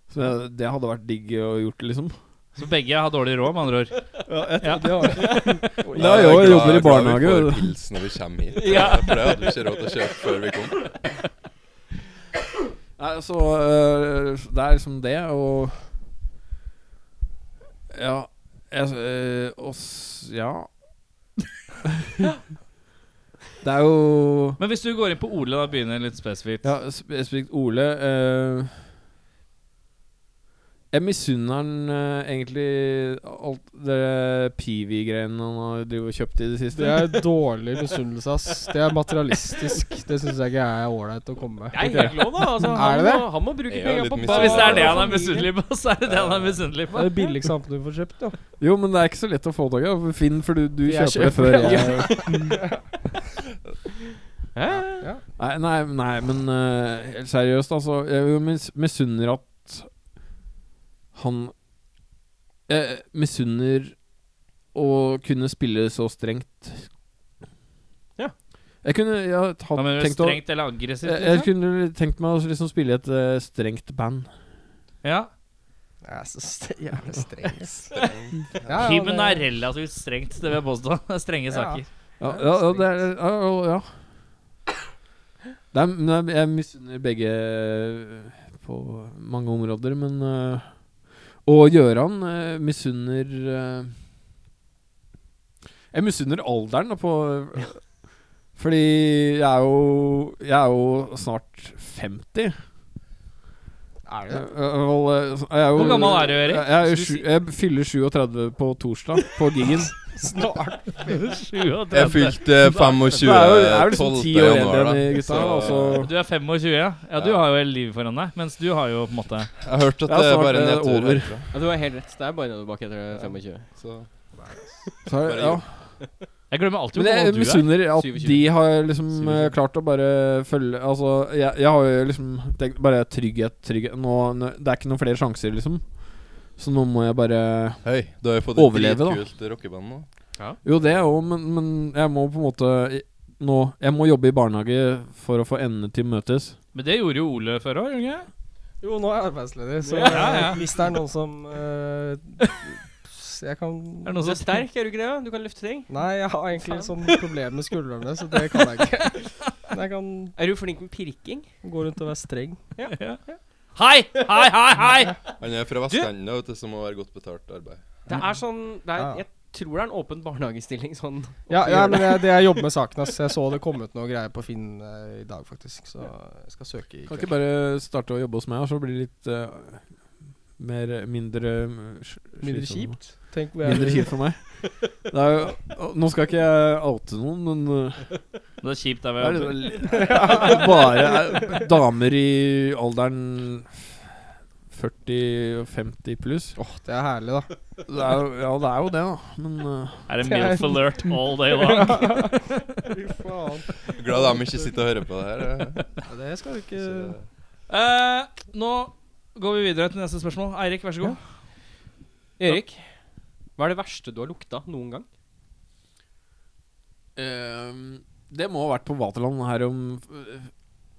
F: Så jeg- det hadde vært digg å gjort, liksom.
B: Så begge har dårlig råd, med andre ord. Ja.
D: Nei,
F: Nei,
D: jeg
F: jo, jeg
D: glad-
F: jobber i
D: glad vi
F: barnehage.
D: får pils når vi kommer hit.
B: Ja.
D: For det hadde vi ikke råd til å kjøpe før vi kom.
F: Nei, så øh, Det er liksom det, og Ja jeg, øh, og s- Ja. det er jo
B: Men hvis du går inn på Ole da begynner litt spesifikt
F: Ja, spesifikt Ole øh, Jeg misunner han øh, egentlig alt det Pivi-greiene han har drivet og kjøpt i det siste.
E: Det er dårlig misunnelse, ass. Det er materialistisk. Det syns jeg ikke er ålreit å komme med.
A: Det er helt lov, da. Altså,
E: Er
A: han,
E: det det?
A: Må, han må bruke
D: Jeg er
A: penga
D: jo litt
A: på
D: misunnelig.
B: Så
A: bar-
B: hvis det er det han er
A: familie.
B: misunnelig på, så er det det han er misunnelig
E: Det
B: på.
E: er det billigste samfunnet du får kjøpt, jo.
F: Jo, men det er ikke så lett å få tak i. da. Finn, for du, du
E: Jeg
F: kjøper, det før
E: kjøper,
F: jeg
A: Hæ?
F: Nei, nei, nei men eh, helt seriøst, altså. Jeg mis misunner at han Jeg misunner å kunne spille så strengt.
A: Ja.
F: Jeg kunne jeg har
B: Da
F: hatt,
B: mener du
F: tenkt å jeg,
B: strengt eller aggressivt?
F: Eh, jeg
B: liksom?
F: kunne tenkt meg å liksom spille i et eh, strengt band.
B: Ja.
E: Jeg er så st jævlig streng. ass. Ja, ja,
B: Hymnen
E: det-
B: er relativt altså, strengt, det vil jeg påstå. Det er Strenge saker.
F: Ja, ja, ja, det er, ja, ja, ja. Det er, men eh, jeg- jeg misunner begge eh, på mange områder, men øh, Og Gøran øh, misunner øh, Jeg misunner alderen da, på Fordi jeg er jo Jeg er jo snart 50.
E: Er
F: Jeg,
E: det?
B: Hvor gammel er du, Erik?
F: Jeg, er jo sju- jeg fyller 37 på torsdag, på gigen.
E: Snart.
B: 37.
D: Jeg fylte eh, 25
F: Det er jo, liksom jeg er jo liksom
D: 12.
F: ti år
D: januar,
F: eldre enn
D: da.
F: de gutta. altså.
D: Så-
F: Og så
B: Du er 25, ja? Ja, du
D: Ja.
B: har jo hele livet foran deg. Mens du har jo på en måte
D: Jeg har hørt at
F: Ja,
D: det er
F: snart
D: bare
F: er det
D: nedtur
F: over.
D: herfra.
A: Ja, du har helt rett. Det er bare nedover bakke etter 25.
D: Så
F: Så er,
D: Bare
F: ja.
D: gjør.
B: Jeg glemmer alltid
F: Men
B: hvor
F: jeg
B: gammel du er.
F: misunner at
A: 27.
F: de har liksom
A: 27.
F: eh, klart å bare følge Altså, jeg, jeg har jo liksom tenkt bare trygghet, trygghet nå, nå, Det er ikke noen flere sjanser, liksom. Så nå må jeg bare
D: Hei, du har jo fått
F: Overleve,
D: et
F: da.
D: dritkult rockeband nå.
F: Jo, det òg, men, men jeg må på en måte i- nå Jeg må jobbe i barnehage for å få endene til å møtes.
B: Men det gjorde jo Ole før òg, gjorde han ikke?
E: Jo, nå er jeg arbeidsledig, så
B: Ja, ja.
E: eh, hvis det er noen som eh, s- Jeg kan
B: Er det noen
A: Du
B: som
A: er sterk, er du ikke det? da? Du kan løfte ting.
E: Nei, jeg har egentlig sånn problemer med skuldrene, så det kan jeg ikke. Men jeg kan
A: Er du flink med pirking?
E: gå rundt og være streng.
B: Hei! Hei, hei, hei!
D: Han er fra Vestlandet, vet du, så må være godt betalt arbeid.
A: Det er sånn det er,
E: Mm. Ja.
A: Jeg tror det er en åpen barnehagestilling sånn.
E: Ja, ja men jeg, det jeg jobber med saken, ass. Jeg så det kom ut noe greier på Finn eh, i dag, faktisk. Så jeg skal søke i
F: Kan
E: kveld.
F: ikke bare starte å jobbe hos meg, og så blir det litt eh, mer Mindre eh, sl-
E: Mindre
F: slitsomt.
E: kjipt. Tenk hvor jeg
F: Mindre kjipt for meg. Det er jo, å, nå skal ikke jeg oute noen, men eh,
B: Det er kjipt altså. der
F: det
B: vi
F: er
B: er.
F: litt- bare eh, damer i alderen 40 og 50 pluss.
E: Åh, det er herlig, da.
F: Det er, jo- ja, det er jo det, da. Men eh,
B: Er det MILF alert all day long?
E: Fy faen.
D: Glad de ikke sitter og hører på det her. eh.
E: Ja, det skal du ikke
D: Så,
B: Eh, nå går vi videre til neste spørsmål. Eirik, vær så god.
A: Erik, hva er det verste du har lukta noen gang?
F: Ehm, det må ha vært på Vaterland her om eh,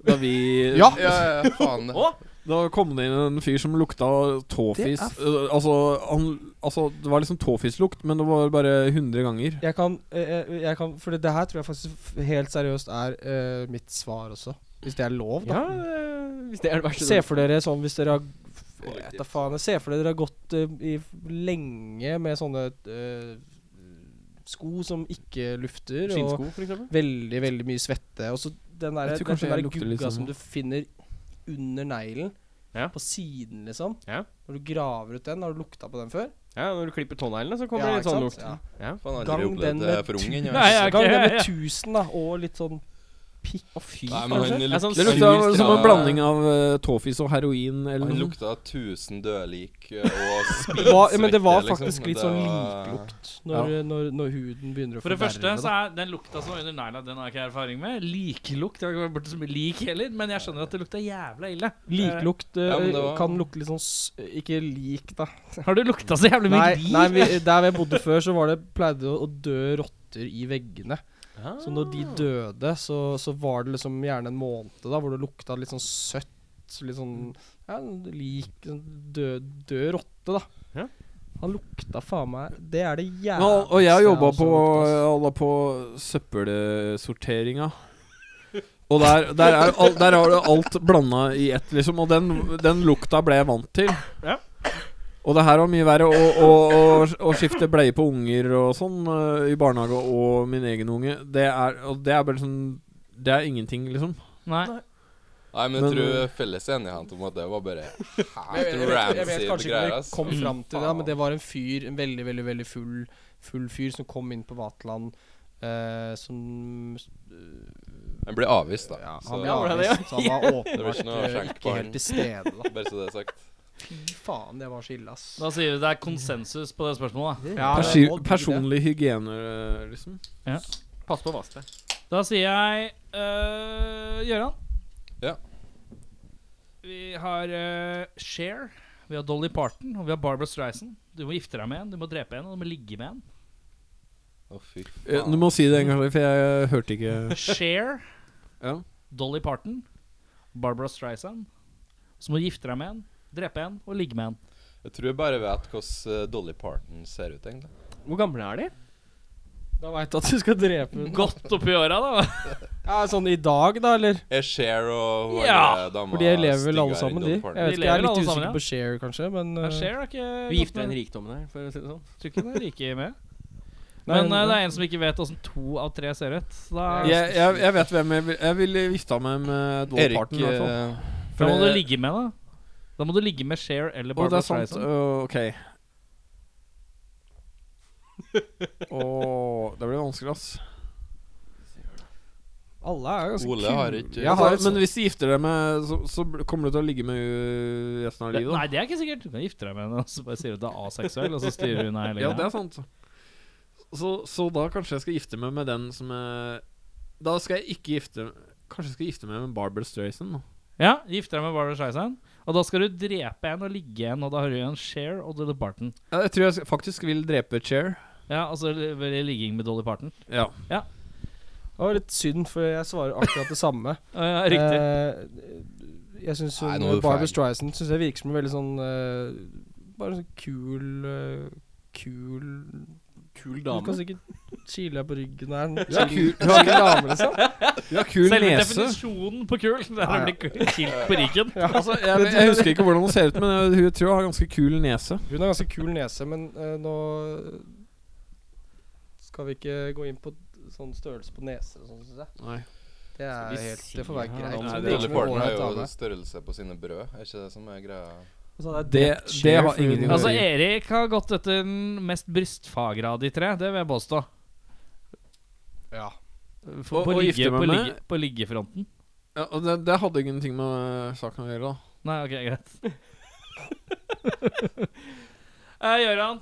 F: Da vi
E: Ja!
D: ja, ja, ja, faen det.
F: Da kom det inn en fyr som lukta tåfis. Eh, altså, han, altså, det var liksom tåfislukt, men det var bare 100 ganger.
E: Jeg kan, eh, jeg, jeg kan For det, det her tror jeg faktisk f- helt seriøst er eh, mitt svar også. Hvis det er lov, da.
A: Ja, eh, hvis det er det verste
E: Se
A: du-
E: for dere sånn hvis dere har jeg vet da faen, jeg Se for dere dere har gått eh, i f- lenge med sånne eh, sko som ikke lufter. og
A: Skinnsko, for eksempel.
E: Veldig, veldig mye svette. Og så den der,
F: Jeg tror
E: den,
F: kanskje
E: den
F: jeg
E: der
F: lukter
E: gugga
F: litt sånn
E: som
F: nå.
E: du finner under neglen.
A: Ja.
E: På siden, liksom.
A: Ja.
E: Når du graver ut den, har du lukta på den før?
A: Ja, når du klipper tåneglene, så kommer
E: Ja,
A: det litt
E: ikke
A: sånn
E: sant?
A: lukt.
E: Ja.
D: Faen, jeg har
E: Gang
D: aldri
E: den
D: opplevd det
E: med
D: for ung
E: tu-
D: ennå.
B: Nei, ja, ok,
E: Gang den
B: ja,
E: med
B: ja.
E: tusen, da. Og litt sånn pikk. Å, fy.
D: Nei, men
E: kanskje?
D: han
A: Det er sånn
F: Det
A: sur
F: lukta som en
D: Ja.
F: blanding av eh, tåfis og heroin eller
D: Han
F: noe.
D: lukta 1000 døde lik eh, og
E: Det var,
D: spilsvette.
E: ja, men det var
D: liksom.
E: faktisk litt
D: Det
E: sånn
D: var-
E: liklukt når, når, når huden begynner å
B: For det første
E: forverre liksom.
B: så er den lukta som var under negla, den har ikke jeg erfaring med. Liklukt. Jeg har ikke vært borte som lik heller, men jeg skjønner at det lukta jævla ille.
E: Liklukt
D: Ja, men det
E: eh,
D: var-
E: kan lukte litt sånn s- Ikke lik, da.
B: Eh, Har du lukta så jævlig mye
E: Nei,
B: lik?
E: nei vi, der jeg bodde før, så var det, pleide det å dø rotter i veggene.
B: Ah.
E: Så når de døde, så, så var det liksom gjerne en måned da, hvor det lukta litt sånn søtt. Litt sånn ja, lik sånn død, død rotte, da.
A: Ja.
E: Han lukta faen meg Det er det jævligste
F: Nå, og jeg jobba
E: har
F: på,
E: lukta, ass.
F: alle på søppelsorteringa. Og der, der, er, al- der har du alt blanda i ett, liksom. Og den, den lukta ble jeg vant til.
A: Ja.
F: Og det her var mye verre. Å- Å å- å skifte bleie på unger og sånn eh, i barnehage og min egen unge, det er, og det er bare sånn Det er ingenting, liksom.
B: Nei.
D: Nei, men jeg
F: Men,
D: tror felles er enighet om at det var bare
E: Jeg vet,
D: helt
E: jeg vet, jeg vet
D: rancid
E: kanskje ikke
D: greier,
E: om vi
D: ass.
E: kom fram til det, da, men
D: Faen.
E: det var en fyr, en veldig, veldig veldig full, full fyr, som kom inn på Vaterland, eh, som
D: Den ble avvist, da.
E: Ja,
D: så
E: han ble
D: det
A: Ja, var det det,
E: avvist. Så han var
D: var ikke noe
E: åpenbart eh,
D: skjenk
E: ikke
D: på han.
E: helt til stede, da.
D: Bare så det er sagt.
E: Fy faen, det var så ille, ass.
B: Da sier vi det er konsensus på det spørsmålet.
E: Ja, det
F: Persi
E: må bli det.
F: personlig hygiene, eh, liksom.
A: Pass på vasket.
B: da. Da sier jeg øh, Gøran.
D: Ja.
B: Vi har øh, Cher, vi har Dolly Parton, og vi har Barbara Streisand. Du må gifte deg med en, du må drepe en, og du må ligge med en.
D: Å, fy
F: Eh, Du
D: faen.
F: må si det en gang til, for jeg hørte ikke
B: Cher,
F: ja.
B: Dolly Parton, Barbara Streisand. Så må du gifte deg med en, drepe en og ligge med en.
D: Jeg tror jeg bare vet hvordan eh, Dolly Parton ser ut, egentlig.
A: Hvor gamle er de?
E: Da veit du at du skal drepe henne.
B: Godt oppi åra, da.
E: Mm. Ja, sånn i dag, da, eller?
D: Er Cher og hun
B: Ja,
D: andre dama
E: For de lever vel alle
D: styggere enn
E: sammen, de. Jeg
D: Dolly Parton?
B: De
E: vet ikke, jeg er
B: lever
E: litt
B: alle sammen,
E: usikker
B: ja.
E: på Share, kanskje, men
B: Ja,
E: eh,
B: Cher er ikke
A: Vi gifter den rikdommen her, for å si det sånn.
B: Tror ikke det er like med.
E: Nei,
B: Men eh,
E: nei.
B: det er en som ikke vet åssen to av tre ser ut. Så Da,
F: jeg, jeg, jeg vet hvem jeg vil Jeg ville gifta meg med Dolly
D: Erik
F: Parton. i hvert fall.
D: eh,
B: da må
F: For
B: du
F: det-
B: ligge med, da. Da må du ligge med Cher eller
F: Å, det
B: Barbara
F: er sant.
B: Streisand.
F: Å, ok. Åh, det blir vanskelig, ass.
E: eh, alle er jo ganske
D: Ole har ikke
E: Jeg har et
F: men hvis du gifter deg med Så, så bl- kommer du til å ligge med henne resten av
B: Det, nei,
F: livet,
B: det er ikke sikkert. Du kan gifte deg med henne, og så bare sier du at du er aseksuell, og så styrer hun
F: da.
B: hele
F: Ja, det
B: greia.
F: er sant. Så, så da kanskje jeg skal gifte meg med den som jeg Da skal jeg ikke gifte Kanskje jeg skal gifte meg med Barbara Streisand? da.
B: Ja, gifte deg med Barbara Streisand. Og da skal du drepe en og ligge en, og da har du igjen Cher og Dolly Parton.
F: Ja, jeg tror jeg sk- faktisk vil drepe Cher.
B: Ja, altså vel, ligging med Dolly Parton.
F: Ja.
E: Det var litt synd, for jeg svarer akkurat det samme.
B: Ja, ja, riktig.
E: Eh, jeg syns
D: Nei, nå er du
E: Barbara
D: feil.
E: Streisand synes jeg virker som en veldig sånn eh, Bare en sånn kul, eh, kul
G: Kul
E: Du kan
G: dame.
E: sikkert chille deg på ryggen der.
F: Du har kul, du
E: Kul dame, liksom.
F: har kul
B: Selve
F: nese.
B: definisjonen på kul Det er å bli kul- kilt på ryggen.
F: Altså, jeg, jeg husker ikke hvordan hun ser ut, men jeg- hun tror hun har ganske kul nese.
E: Hun har ganske kul nese, men eh, nå skal vi ikke gå inn på sånn størrelse på neser og sånn, synes jeg.
F: Nei.
E: Det er
G: vi
E: helt Det får
G: si
E: være
G: her da?
E: greit. Så
D: Nei,
E: det er
D: det
E: ikke
D: alle
E: noe
D: partene
E: ålreit
D: har
E: dame.
D: jo størrelse på sine brød. Er ikke det som er greia?
E: Og så er det
F: Det,
E: et skjer
F: det har
E: fordi
F: ingenting å
E: hun-
B: Altså,
F: gjøre.
B: Erik har gått etter den mest brystfagra av de tre. Det vil jeg påstå.
E: Ja.
B: For,
F: Og-
B: på,
F: og
B: ligge,
F: gifte meg
B: på,
F: med-
B: ligge, på liggefronten.
F: Ja, og det, det hadde ingenting med øh, saken å gjøre, da.
B: Nei, ok, greit. uh, Gøran,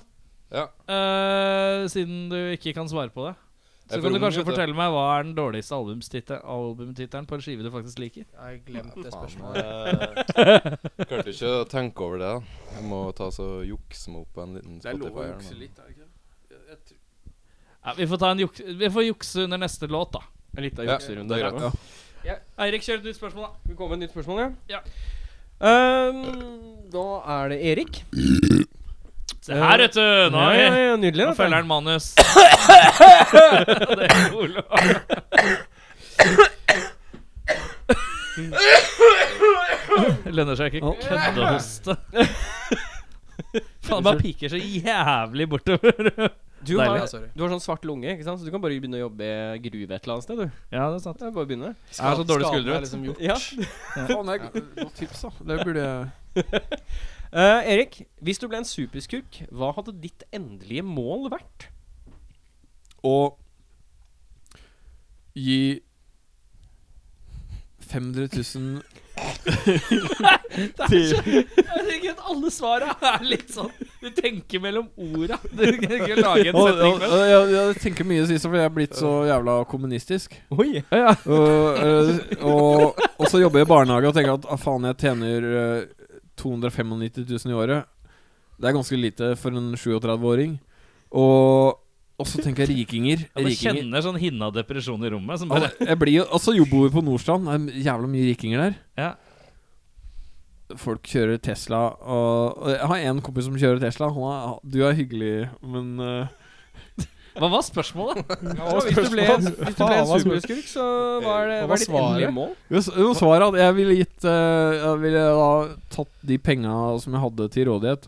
D: Ja.
B: eh, siden du ikke kan svare på det, så
D: Jeg er
B: kan
D: for
B: du
D: ung,
B: kanskje
D: vet du.
B: fortelle meg hva er den dårligste albumstitte- albumtittelen på en skive du faktisk liker?
E: Jeg har glemt det
D: Faen,
E: spørsmålet.
D: jeg Klarte ikke å tenke over det. da. Jeg må ta så jukse meg opp på en liten Spotify. her nå.
F: litt, er det ikke det?
B: Ja, vi, får ta en juk vi får jukse under neste låt, da.
G: En liten
D: Ja,
G: jukserunde.
D: det er
G: her
D: greit,
G: nå.
B: Eirik, kjør et nytt spørsmål, da.
A: Skal vi komme med et nytt spørsmål,
B: Ja.
A: Ehm, da er det Erik.
B: Se her, vet du!
A: Ja,
B: Nå, har
A: ja,
B: vi-
A: ja, nydelig.
B: nå
A: dette.
B: følger han manus. det er Olav. Lønner seg ikke å kødde og hoste. Faen, det bare piker så jævlig bortover.
A: Du
B: Deilig.
A: har,
E: Ja, sorry.
A: du har sånn svart lunge, ikke sant? så du kan bare begynne å jobbe i gruve et eller annet sted. du
B: Ja, det er sant.
A: Det er bare å begynne.
B: Jeg har så dårlige
E: Skaden
B: skuldre.
E: er liksom gjort.
A: Ja.
F: Faen, det er et godt tips, da. Det burde jeg
A: Eh, Erik, hvis du ble en superskurk, hva hadde ditt endelige mål vært?
F: Å gi 500 000
B: Herregud, alle svara er litt sånn Du tenker mellom orda. Du kan ikke lage en
F: og, og,
B: setning
F: og,
B: med
F: jeg, jeg tenker mye sist, for jeg er blitt så jævla kommunistisk.
A: Oi
F: Og, øh, og, og så jobber jeg i barnehage og tenker at ah, faen, jeg tjener øh, 295 000 i året. Det er ganske lite for en 37-åring. Og, og så tenker jeg rikinger.
B: Jeg
F: rikinger.
B: kjenner sånn hinna depresjon i rommet. Som bare,
F: Altså, jeg blir jo, og så jobber vi på Nordstrand. Det er jævla mye rikinger der.
B: ja.
F: Folk kjører Tesla, og, og jeg har en kompis som kjører Tesla. Han er, du er hyggelig, men øh,
B: Hva var spørsmålet?
A: Ja, hvis du ble, hvis du ble en superskurk, så hva er, det,
E: Eh,
A: hva er
E: Hva var
A: ditt
E: svaret?
A: endelige mål?
F: Jo, s- jo, svaret er at jeg ville gitt eh, Jeg ville da tatt de penga som jeg hadde til rådighet,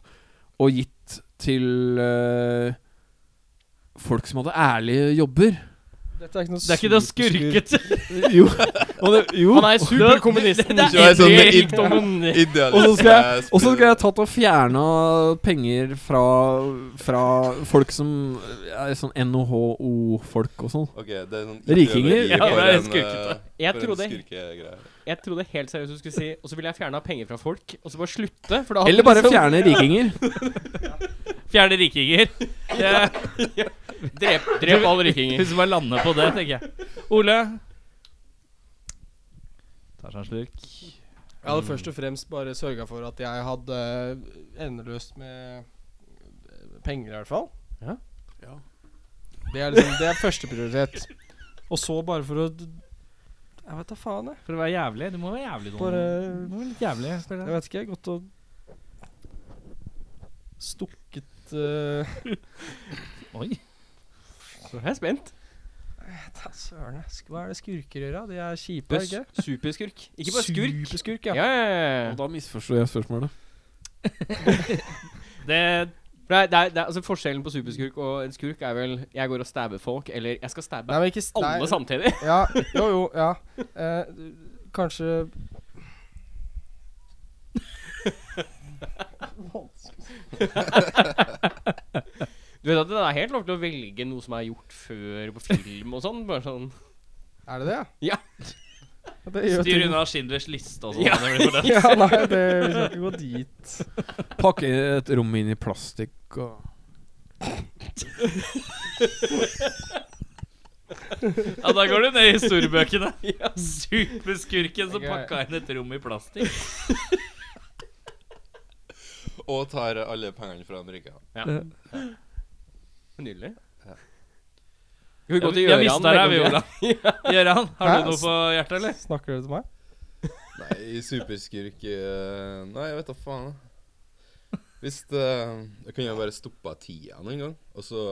F: og gitt til eh, folk som hadde ærlige jobber.
E: Dette er ikke noe
B: Det er ikke det å
E: superskurk.
B: skurke til.
F: jo. Og, det, jo.
A: Han er superkommunisten.
B: Det- det-
D: det er sånn
A: Erik
D: id-
A: Dommen.
D: Idealist
F: og så skal jeg,
D: er
F: og så skal jeg tatt og fjerna penger fra, fra folk som er sånn NHO-folk og sånn.
D: Ok, det er sånn
F: Rikinger?
B: Ja,
D: ideologi for
B: det er
D: en,
B: skurkete.
D: eh,
A: Jeg
D: for en
A: trodde,
D: skurkegreie.
A: jeg trodde helt seriøst du skulle si Og så ville jeg fjerna penger fra folk, og så bare slutte. For da hadde
F: Eller
A: du
F: bare
A: liksom
F: fjerne rikinger.
B: Fjerne rikinger. Det-
A: Drep, drep alle rikinger.
B: Hvis vi bare lander på det, tenker jeg. Ole? Tar seg en slurk.
E: Jeg
A: Mm.
E: hadde først og fremst bare sørga for at jeg hadde endeløst med penger, i hvert fall.
A: Ja.
F: Ja.
E: Det er liksom Det er førsteprioritet. Og så bare for å d- Jeg vet da faen, jeg.
B: For å være jævlig. Du må være jævlig. Noen.
E: Bare
B: Du må være litt jævlig
E: Jeg vet ikke, jeg. Gått og stukket eh,
B: Oi.
A: Nå er jeg spent.
E: ta Søren, jeg. Sk- hva er det skurker gjør, da? De er kjipe,
A: Du
E: er
A: er
E: de ikke?
A: s- superskurk. Ikke bare skurk.
E: Superskurk,
A: Ja,
E: ja.
A: ja, ja,
F: Og
A: ja.
F: da misforsto jeg spørsmålet.
B: Det,
A: For Det er, det er, det er, altså forskjellen på superskurk og en skurk er vel Jeg går og stabber folk, eller jeg skal stabbe
E: Nei, men ikke s-
A: alle
E: nei,
A: samtidig.
E: Ja, jo, jo, ja. Eh, kanskje
A: Du vet at Det er helt lov til å velge noe som er gjort før på film og sånn. Bare sånn
E: Er det det,
A: Ja.
E: Det gjør
B: styr
E: ting.
B: unna Schindlers liste og sånn.
A: Ja.
B: det blir for det.
E: Ja, nei, det, vi skal ikke gå dit.
F: Pakke et rom inn i plastikk og
B: Ja, da går du ned i historiebøkene. Superskurken som pakka inn et rom i plastikk.
D: Og tar alle pengene fra Henrika.
A: Nydelig. Skal vi gå til
B: Ja, vi- ja, vi
A: Gøran?
B: starter her, vi,
A: velkommen.
B: Olav. Gøran, har
E: Hæ?
B: du noe på hjertet, eller?
E: Snakker dere til meg?
D: Nei, superskurk eh, Nei, jeg vet da faen. jeg. Hvis det, Jeg kunne jo bare stoppa tida noen gang, og så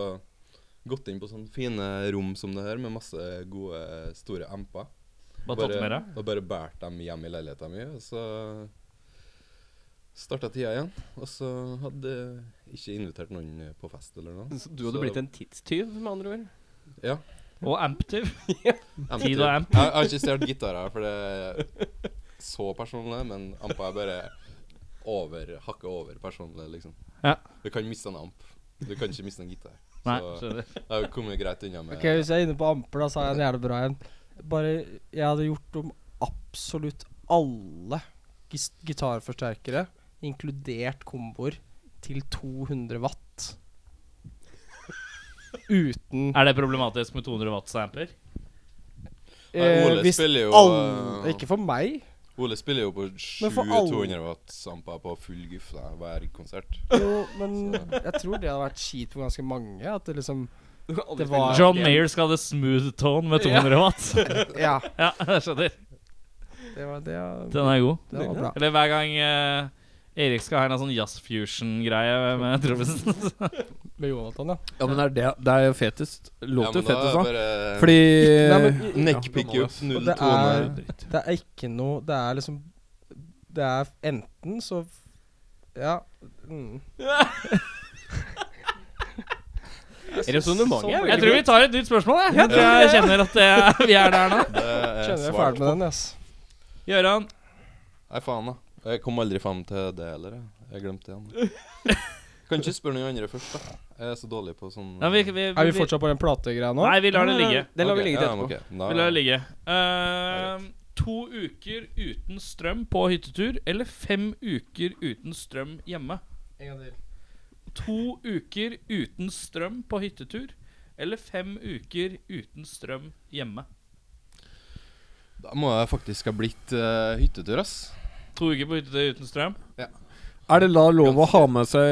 D: gått inn på sånne fine rom som det her, med masse gode, store amper.
B: Bare tatt med deg?
D: Og bare båret dem hjem i leiligheta mi, og så starta tida igjen. Og så hadde jeg ikke invitert noen på fest eller noe.
A: Så du hadde blitt en tidstyv, med andre ord?
D: Ja.
B: Og amptiv.
D: Amp,
B: Tid og amp.
D: Jeg, jeg har ikke stjålet gitarer, for det er så personlig, men ampa er bare over, hakket over personlig, liksom.
B: Ja.
D: Du kan miste en amp. Du kan ikke miste en gitar.
B: Nei,
D: Så
B: skjønner.
D: jeg har jo kommet greit unna med
E: Ok, Hvis jeg er inne på Amper, da, så er jeg en jævlig bra en. Bare Jeg hadde gjort om absolutt alle gis gitarforsterkere, inkludert komboer, til 200 watt. Uten
B: Er det problematisk med 200 watts amper?
D: Nei, Ole spiller jo,
E: eh, alle-
D: eh,
E: Ikke for meg.
D: Ole spiller jo på
E: Men for
D: 700 watts amper på full guff da, hver konsert.
E: Jo, men jeg tror det hadde vært kjipt for ganske mange. At det liksom Det var
B: John Mayer skal ha det smooth tone med 200 watts.
E: Ja.
B: ja, jeg skjønner.
E: Det var, det,
B: Den er god.
E: det var bra.
B: Eller hver gang eh, Erik skal ha en sånn jazz fusion-greie med trommisen.
E: Med Jonathan, ja.
F: Ja, men det er det Det er jo fetest. Låter jo fetest,
B: sånn.
F: da.
D: bare
F: Fordi
E: Nei, men
D: Neckpick Eh, up
E: Og det
D: 0-2.
E: er- Det er ikke noe Det er liksom Det er enten så f- Ja. Mm.
A: Resonnementet er
B: Jeg tror vi tar et nytt spørsmål. Jeg, jeg tror jeg kjenner at det, vi er der nå.
D: Det er
E: Kjenner jeg er
D: svart
E: ferdig med
D: på.
E: den, ass.
B: Gøran,
D: Nei, faen, da. Jeg kom aldri fram til det heller. Jeg, jeg glemte det. Kan ikke spørre noen andre først, da. Jeg er så dårlig på sånn
B: Nei, vi, vi,
E: Er vi fortsatt på den plategreia nå?
B: Nei, vi lar det ligge.
A: Det lar vi ligge til
D: etterpå.
A: etterpå.
B: Vi lar det ligge. Ehm, to uker uten strøm på hyttetur eller fem uker uten strøm hjemme?
E: En gang til.
B: To uker uten strøm på hyttetur eller fem uker uten strøm hjemme?
D: Da må jeg faktisk ha blitt eh, hyttetur, ass.
B: To uker på hyttetur uten strøm?
F: Er det da lov å ha med seg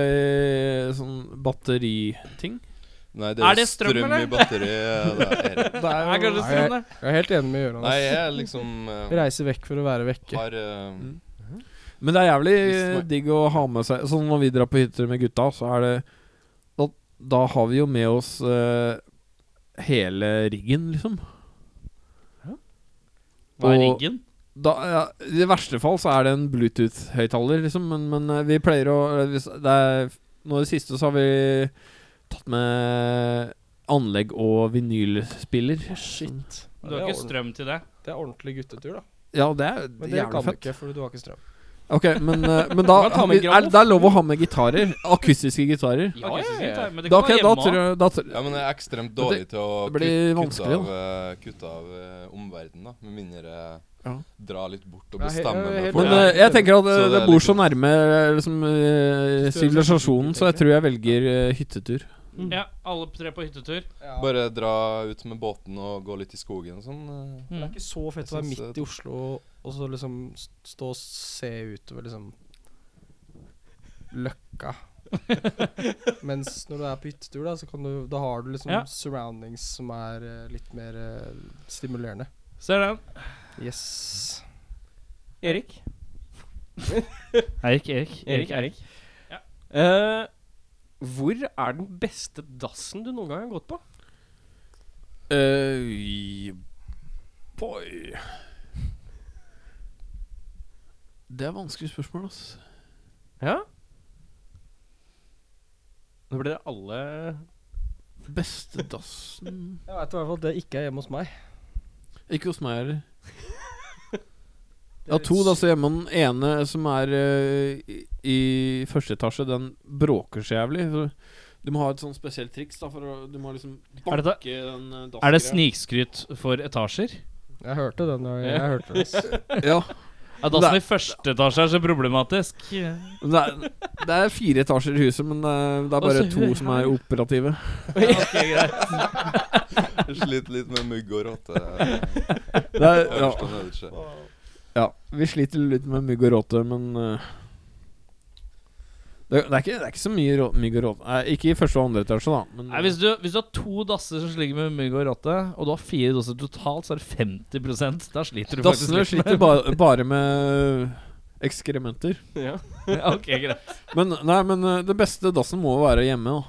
F: sånn batteriting?
D: Nei,
B: Er
D: det er,
B: det
D: jo
B: strøm,
D: strøm i
B: eller?
D: batteriet. Det er det.
F: Det er
B: Er kanskje strøm der?
E: Jeg er helt enig med Gøran.
D: Nei,
E: ass.
D: jeg er liksom eh,
E: Reise vekk for å være vekke.
D: har eh,
F: Mm. Men det er jævlig
D: Visst meg.
F: digg å ha med seg Sånn når vi drar på hytter med gutta, så er det Da, da har vi jo med oss eh, hele riggen, liksom.
B: Hva er
F: Og-
B: riggen?
F: Da, ja, I verste fall så er det en Bluetooth-høyttaler, liksom, men, men eh, vi pleier å eh, hvis det er, Nå i det siste så har vi tatt med anlegg og vinylspiller.
E: Shit.
B: Du har ikke strøm til det?
E: Det er ordentlig guttetur, da.
F: Ja, det er
E: Men det
F: jævlig
E: kan du
F: fett.
E: ikke, for du har ikke strøm.
F: Ok, men, eh, men da
A: Du kan ta med
F: er, det- det er lov å ha med gitarer. Akustiske gitarer.
B: Ja, ja, ja. Men det kan
F: Da, ok,
B: være
F: da
B: hjemme
F: tror
B: også.
F: jeg da, tror-
D: Ja, men jeg er ekstremt
F: Men
D: dårlig
F: det-
D: til å
F: det blir
D: kut-
F: vanskelig,
D: av, eh, kutte av eh, omverdenen, da. Med mindre jeg
F: Ja.
D: drar litt bort og
E: Ja, he-
D: bestemmer
E: ja,
D: meg
E: helt
D: for
F: Men
E: enig.
D: det.
F: eh, jeg tenker at eh,
D: Så det
F: det
D: er
F: bor
D: litt-
F: så nærme eh, liksom, eh,
E: sånn
F: sivilisasjonen, så jeg tror jeg velger eh, hyttetur.
B: Ja, alle tre på hyttetur.
D: Bare dra ut med båten og gå litt i skogen og sånn. eh.
E: Det
B: Mm.
E: er ikke så fett å
D: Jeg
E: være
D: synes
E: midt
D: det-
E: i Oslo og så liksom s- stå og se utover liksom Løkka. Mens når du er på hyttetur, da, så kan du, da har du liksom
B: Ja.
E: surroundings som er eh, litt mer eh, stimulerende.
B: Ser den.
E: Yes.
A: Erik.
B: Erik, Erik.
A: Erik, Erik.
B: Ja.
A: Eh, hvor er den beste dassen du noen gang har gått på?
F: Eh, boy Det er vanskelig spørsmål, ass.
A: Ja? Nå ble det alle
F: Beste dassen
E: Jeg veit i hvert fall at det ikke er hjemme hos meg.
F: Ikke hos meg heller. Jeg har to dasser hjemme. og Den ene som er eh, i, i første etasje, den bråker så jævlig. Så du må ha et sånt spesielt triks. da for å, Du må liksom
B: Er
F: banke
B: det da-
F: den eh, dassen.
B: Er det snikskryt for etasjer?
E: Jeg hørte den. Jeg, jeg hørte den. ass.
F: Ja.
B: At dassen i første etasje er så problematisk.
F: Men Det er, det er fire etasjer i huset, men det er, det er bare
B: Altså,
F: to
B: hun
F: som er
B: her.
F: operative.
D: Jeg Sliter litt med mugg og rotte. eh,
F: Det er, ja,
D: øverst og nederst.
F: ja, vi sliter litt med mygg og råte, men eh, det, det, er ikke, det er ikke så mye rå, mygg og råte. Nei, ikke i første og andre etasje, da. Men
B: Nei, hvis, du, hvis du har to dasser som ligger med mygg og rotte, og du har fire dasser totalt, så er det 50 Da sliter du
F: eh, dassene
B: faktisk litt.
F: sliter bare, bare med Ekskrementer.
G: Ja.
B: Ok, greit.
F: Men nei, men eh, det beste dassen må jo være hjemme, da.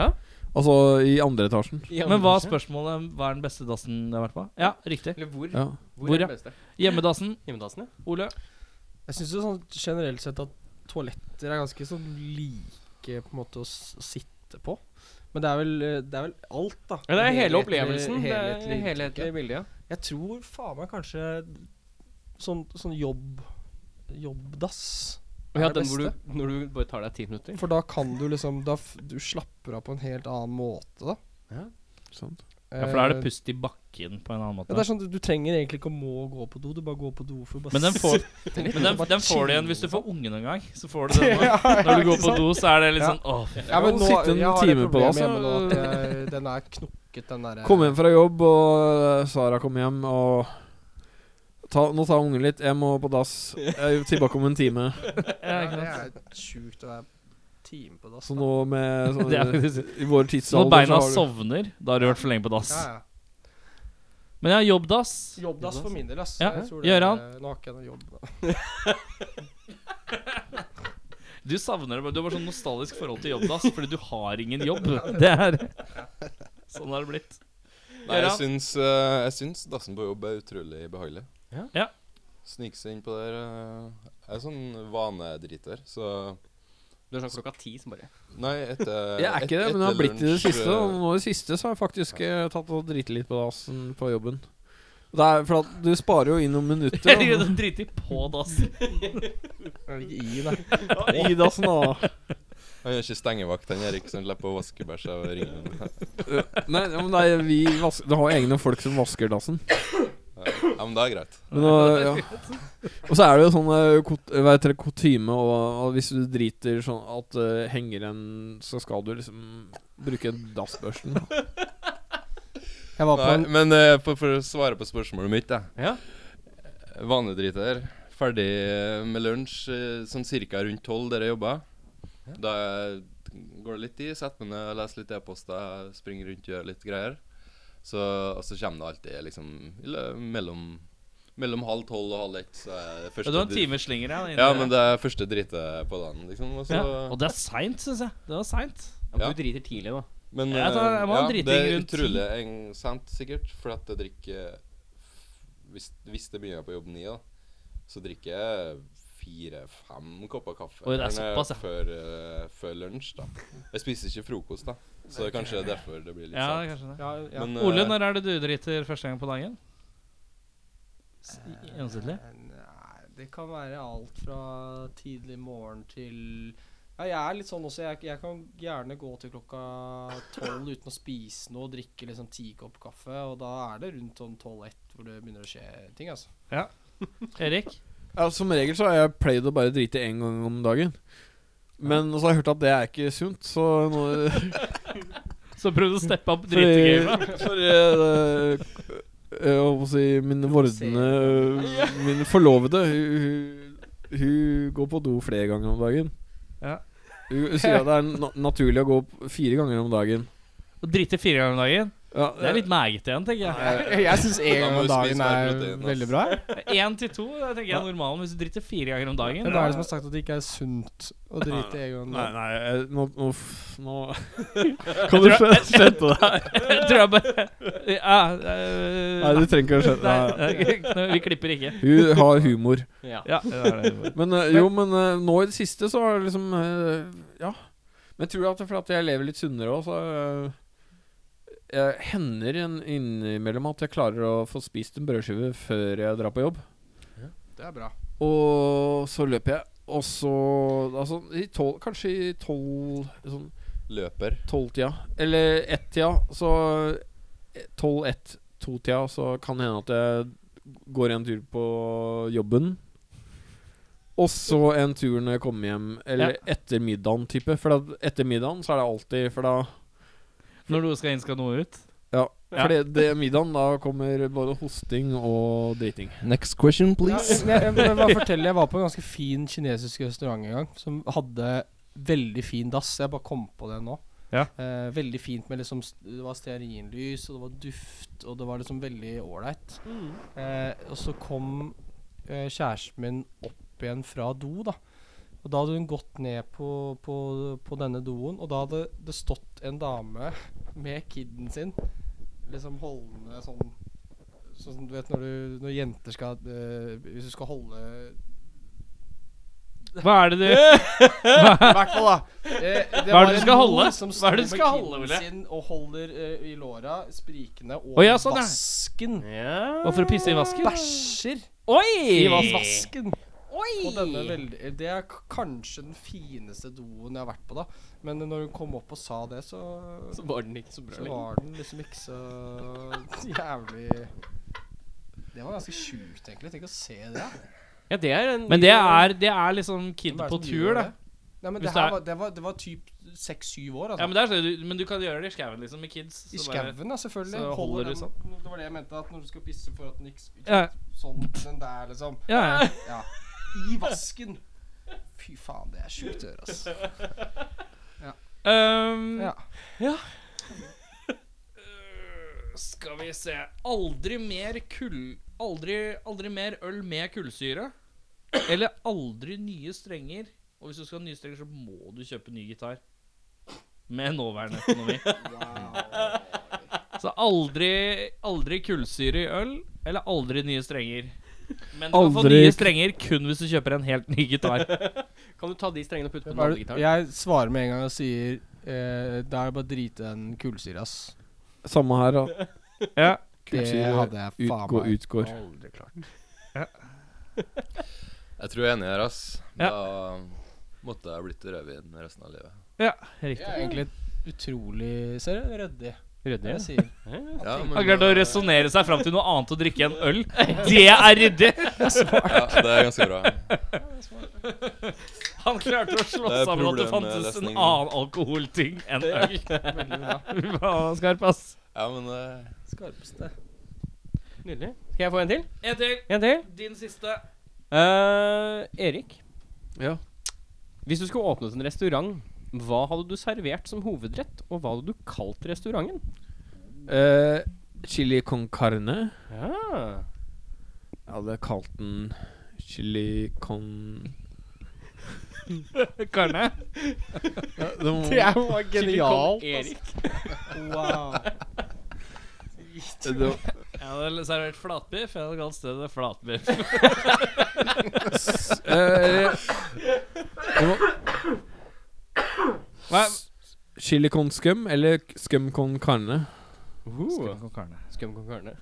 G: Ja.
F: Altså i andre etasjen.
B: Men hva er spørsmålet? Hva er den beste dassen det har vært på? Ja, riktig.
G: Eller hvor?
F: Ja.
G: Hvor,
B: Hvor,
G: er
B: ja?
G: den beste?
B: Hjemmedassen.
G: Hjemmedassen, ja.
B: Ole?
E: Jeg syns sånn generelt sett at toaletter er ganske sånn like på en måte å s sitte på. Men det er vel, eh, det er vel alt, da.
G: ja. Det er hele
E: Helhetlig-
G: opplevelsen. Det er
E: helhetlig
G: helhetlig
E: inntrykket.
G: bilde, ja.
E: Jeg tror faen meg kanskje sånn, sånn jobb jobbdass
G: Og ja
E: er det
G: den hvor du,
E: beste.
G: når du bare tar deg ti minutter.
E: For da kan du liksom Da f du slapper av på en helt annen måte, da.
F: Sant.
B: Ja, for da er det
E: Eh,
B: pust i bakken på en annen
E: Ja, det
B: måte.
E: er sånn, du, du trenger egentlig ikke å må gå på do, du bare går på do for å bare
B: Men den får,
E: sitte litt, sånn
B: men den,
E: og bare
B: den får du igjen hvis du
E: chille.
B: får ungen en gang. Så får du den nå. Når du går på do, så er det litt
E: Ja.
B: sånn åh, fy
E: ja, men nå,
F: Sitte en
E: Jeg har
F: time
E: et
F: på
E: problem
F: dass,
E: hjemme nå
F: så-
E: at jeg, den er knokket, den eh, derre
F: Kom hjem fra jobb, og eh, Sara kom hjem, og ta, Nå tar ungen litt. Jeg må på dass. Jeg er tilbake om en time.
E: Ja, det er sjukt å være time på dass.
F: Så
E: da.
F: nå med
B: Det er
F: sånn,
B: faktisk-
F: I vår tidsalder
B: Når beina
F: så har du-
B: sovner, da har du vært for lenge på dass.
E: Ja, ja.
B: Men ja, jobbdass.
E: Jobbdass for min del, ass.
B: Ja,
E: Jeg tror
B: Gøran?
E: er- Nå har ikke jeg noe jobb. da.
B: Du savner det, men du har bare sånn nostalgisk forhold til jobbdass fordi du har ingen jobb. Det er Sånn har det blitt.
D: Nei, jeg
B: Gøran?
D: syns, eh, jeg syns dassen på jobb er utrolig behagelig.
G: Ja.
B: Ja.
D: Snike seg innpå der. eh, Jeg er sånn vanedriter, så
G: Du er sånn klokka ti som bare
D: Nei, etter
F: Jeg er ikke det,
D: et-
F: men det har
D: etter
F: blitt i det
D: lunsj,
F: siste. Og
D: eh,
F: nå i det siste så har jeg faktisk eh, tatt og driti litt på dassen på jobben. Det er for at du sparer jo inn noen minutter. da.
B: Drit i på dassen.
F: I dassen, da.
D: Han gjør ikke stengevakt, han Erik, så han slipper å vaske bæsj av ringen.
F: Nei, ja, men nei, vi vasker, det har jo egne folk som vasker dassen.
D: Ja, men det er greit.
F: Men, nå, ja. Og så er det jo sånn eh, kot- hva heter det, kutyme og, og hvis du driter sånn at eh, henger en Så skal du liksom bruke dassbørsten. da.
E: Jeg var på
D: Nei,
E: en
D: men eh, for, for å svare på spørsmålet mitt, da. Eh,
G: Ja.
D: Vanedriter. Ferdig eh, med lunsj eh, sånn cirka rundt tolv der jeg jobber. Da eh, går det litt tid, setter meg ned, leser litt e-poster, springer rundt, gjør litt greier. Så, og så kommer det alltid liksom i lø- mellom, mellom halv tolv og halv ett. Så er
B: Ja,
D: det første
B: du har en
D: dri-
B: timeslinger her.
D: Ja, men det er første dritet på dagen, liksom. Og så,
B: ja. Og det er seint, syns jeg. Det var seint.
G: ja, men
D: Ja.
G: Du driter tidlig, da.
D: Men
B: Jeg tar- jeg må ha en
D: eh, det
B: driting
D: er
B: rundt ti.
D: utrolig en- sent, sikkert, for at jeg drikker Hvis, hvis det begynner på jobb ni, da, så drikker jeg fire-fem kopper kaffe
B: Oi, det er
D: gjerne
B: såpass, ja.
D: før, eh, før lunsj. da Jeg spiser ikke frokost, da, så det er kanskje derfor det blir litt
B: Ja,
D: sent.
B: kanskje det.
E: ja, ja.
D: Men, eh,
B: Ole, når er det du driter første gang på dagen? Eh. S- Gjennomsnittlig?
E: Eh, Nei, det kan være alt fra tidlig morgen til Ja, jeg er litt sånn også. Jeg, jeg kan gjerne gå til klokka tolv uten å spise noe, drikke liksom ti kopp kaffe, og da er det rundt sånn tolv-ett hvor det begynner å skje ting, altså.
B: Erik?
F: Ja, Som regel så har jeg pleid å bare drite én gang om dagen. Men så har jeg hørt at det er ikke sunt, så nå
B: Så prøv å steppe opp dritegamet.
F: Fordi for, eh, eh, Jeg holdt på å si Min vordende eh, Min forlovede Hun, hun, hun går på do flere ganger om dagen
B: Ja.
F: Hun sier at det er na naturlig å gå opp fire ganger om dagen
B: Å drite fire ganger om dagen,
F: ja, eh,
B: det er litt magete igjen, tenker jeg.
E: Jeg syns én gang
D: Da
E: om
D: må du spise
E: dagen
D: mer
E: er
D: protein, altså. ass.
E: veldig bra. jeg.
B: Én til to det tenker jeg er normalen hvis du driter fire ganger om dagen.
E: Men hva er det som har sagt at det ikke er sunt å drite én gang om
F: Nei,
E: dagen?
F: nei eh, Nå, nå, f- nå. Kan du skjø- skjønne det her?
B: Jeg tror jeg bare ja, eh,
F: Nei, du trenger ikke å skjønne
B: nei,
F: Nei.
B: nei, Vi klipper ikke.
F: Hun har humor
G: Ja.
B: Ja, det er det.
F: Men eh, jo, men eh, nå i det siste så har det liksom eh, Ja. Men tror du at det er fordi at jeg lever litt sunnere òg, så eh, jeg hender en innimellom at jeg klarer å få spist en brødskive før jeg drar på jobb.
E: Det er bra.
F: Og så løper jeg, og så altså, i tolv, Kanskje i tolv sånn,
D: Løper.
F: tolvtida, eller ett-tida, så eh, tolv, ett, to-tida, så kan det hende at jeg går en tur på jobben. Og så en tur når jeg kommer hjem, eller etter middagen, type. For da, etter middagen så er det alltid For da
B: Når noe skal inn, skal noe ut.
F: Ja. Fordi det middagen, da kommer både hosting og driting.
D: Next question,
E: Ja, jeg, jeg, jeg, bare fortell, jeg var på en ganske fin kinesisk restaurant en gang, som hadde veldig fin dass. Jeg bare kom på det nå.
B: Ja.
E: Eh, veldig fint med liksom s- Det var stearinlys, og det var duft, og det var Mm. liksom veldig ålreit. Eh, og så kom eh, kjæresten min opp opp igjen fra do, da. Og da hadde hun gått ned på, på, på denne doen, og da hadde det stått en dame med kiden sin, liksom holdende sånn Sånn som du vet når, du, når jenter skal eh, Hvis du skal holde
B: Hva er det du
E: I hvert fall, da. Eh,
B: Hva er det
E: var
B: du
E: en
B: skal
E: mor
B: holde?
E: Som
B: Hva er det du
E: står
B: skal
E: med
B: holde,
E: kiden
B: Ole?
E: sin Og holder eh, i låra, sprikende, og
B: Å ja, sånn, ja.
E: vasken.
G: Ja.
B: Hva for å pisse i vasken?
E: Bæsjer i vas-
B: Oi!
E: vasken. Og denne veldig, det er k- kanskje den fineste doen jeg har vært på, da. Men når hun kom opp og sa det, så,
G: Så var den ikke så bra
E: så
G: lenger.
E: var den liksom ikke så jævlig Det var ganske sjukt, egentlig. Tenk å se det.
G: Ja, det er en
B: Men det er, det er liksom kid
E: Hvem er det
B: på
E: som
B: tur,
E: gjør
B: da.
E: det? Nei, men
B: Hvis
E: det,
B: det er-
E: her var, det, var, det var typ seks-syv år, altså.
B: Ja, men, det er, sånn du- men du kan gjøre det i skauen, liksom, med kids.
E: I
B: så bare-
E: skauen, ja, selvfølgelig.
B: så
E: Holder
B: holder du
E: den, sånn. Det var det jeg mente, at når du skal pisse for at den ikke ikke
B: Ja.
E: Sånn, den der, liksom.
B: Ja, ja.
E: Ja. I vasken. Fy faen, det er sjukt å gjøre, altså.
B: Um,
E: Ja.
B: øh, Skal vi se Aldri mer kull... Aldri, aldri mer øl med kullsyre. Eller aldri nye strenger. Og hvis du skal ha nye strenger, så må du kjøpe ny gitar. Med nåværende økonomi. Så aldri, aldri kullsyre i øl, eller aldri nye strenger. Men du kan få
F: Aldri-
B: nye strenger kun hvis du kjøper en helt ny gitar.
G: Kan du ta de strengene og putte på den
E: Hva er
G: andre
E: det-
G: gitaren?
E: Jeg svarer med en gang og sier eh, Det er bare å drite i den kullsyra, ass.
F: Samme her, da.
B: Ja.
E: Det
F: Kullsyre
E: hadde jeg faen
F: utgår-
E: meg
F: utgår.
E: aldri klart.
D: Jeg tror jeg er enig her, ass.
B: Ja.
D: Da måtte jeg blitt rødvin resten av livet.
B: ja,
E: Det
B: riktig.
E: er egentlig ser Ser du, ryddig.
G: Ryddig.
E: Jeg sier.
D: Ja, men,
B: Han klarte å
D: eh,
B: resonnere seg fram til noe annet å drikke enn øl. Det er ryddig!
D: Ja, det er ganske bra.
B: Han klarte å slå
D: Det er
B: sammen at det fantes en
D: problemlesning.
B: annen alkoholting enn øl.
E: Veldig bra.
B: Fy faen, Skarp, ass.
D: Ja, men eh,
E: Skarpeste.
G: Nydelig. Skal jeg få en til?
B: En til.
G: En til.
B: Din siste.
G: Eh, Erik,
F: Ja.
G: hvis du skulle åpnet en restaurant, hva hadde du servert som hovedrett, og hva hadde du kalt restauranten?
F: Eh, chili con carne.
G: Ja.
F: Jeg hadde kalt den chili con
B: Karne.
E: Det er jo bare genialt.
G: Erik.
E: Wow.
F: det,
B: Jeg hadde servert flatbiff. Jeg hadde kalt stedet Flatbiff.
F: eh, det var
B: Hva?
F: Chili con scum eller scum con carne.
G: Uh,
B: Karne.
G: Skum kong Karne.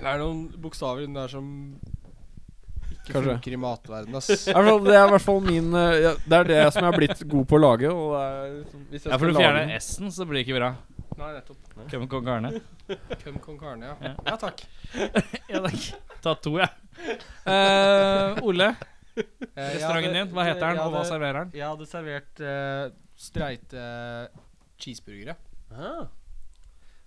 E: Det er noen bokstaver inni der som ikke
F: Kanskje.
E: funker i matverdenen, ass.
F: I hvert fall- Det er i hvert fall min eh, ja, Det er det som jeg er blitt god på å lage. Og det er,
A: altså,
F: liksom- hvis jeg
B: Ja, for
F: skal
B: du
F: lage
B: fjerner
F: den-
B: S-en, så blir det ikke bra.
E: Nei, nettopp.
B: Kevin Kong Karne.
E: Køm kong Karne, ja.
B: Ja.
E: Ja takk.
B: Ja, takk. Ta to, jeg. Eh, Ole,
E: Eh, jeg
B: restauranten
E: hadde-
B: din. Hva heter den,
E: jeg
B: og hva
E: hadde-
B: serverer den?
E: Jeg hadde servert eh, streite cheeseburgere.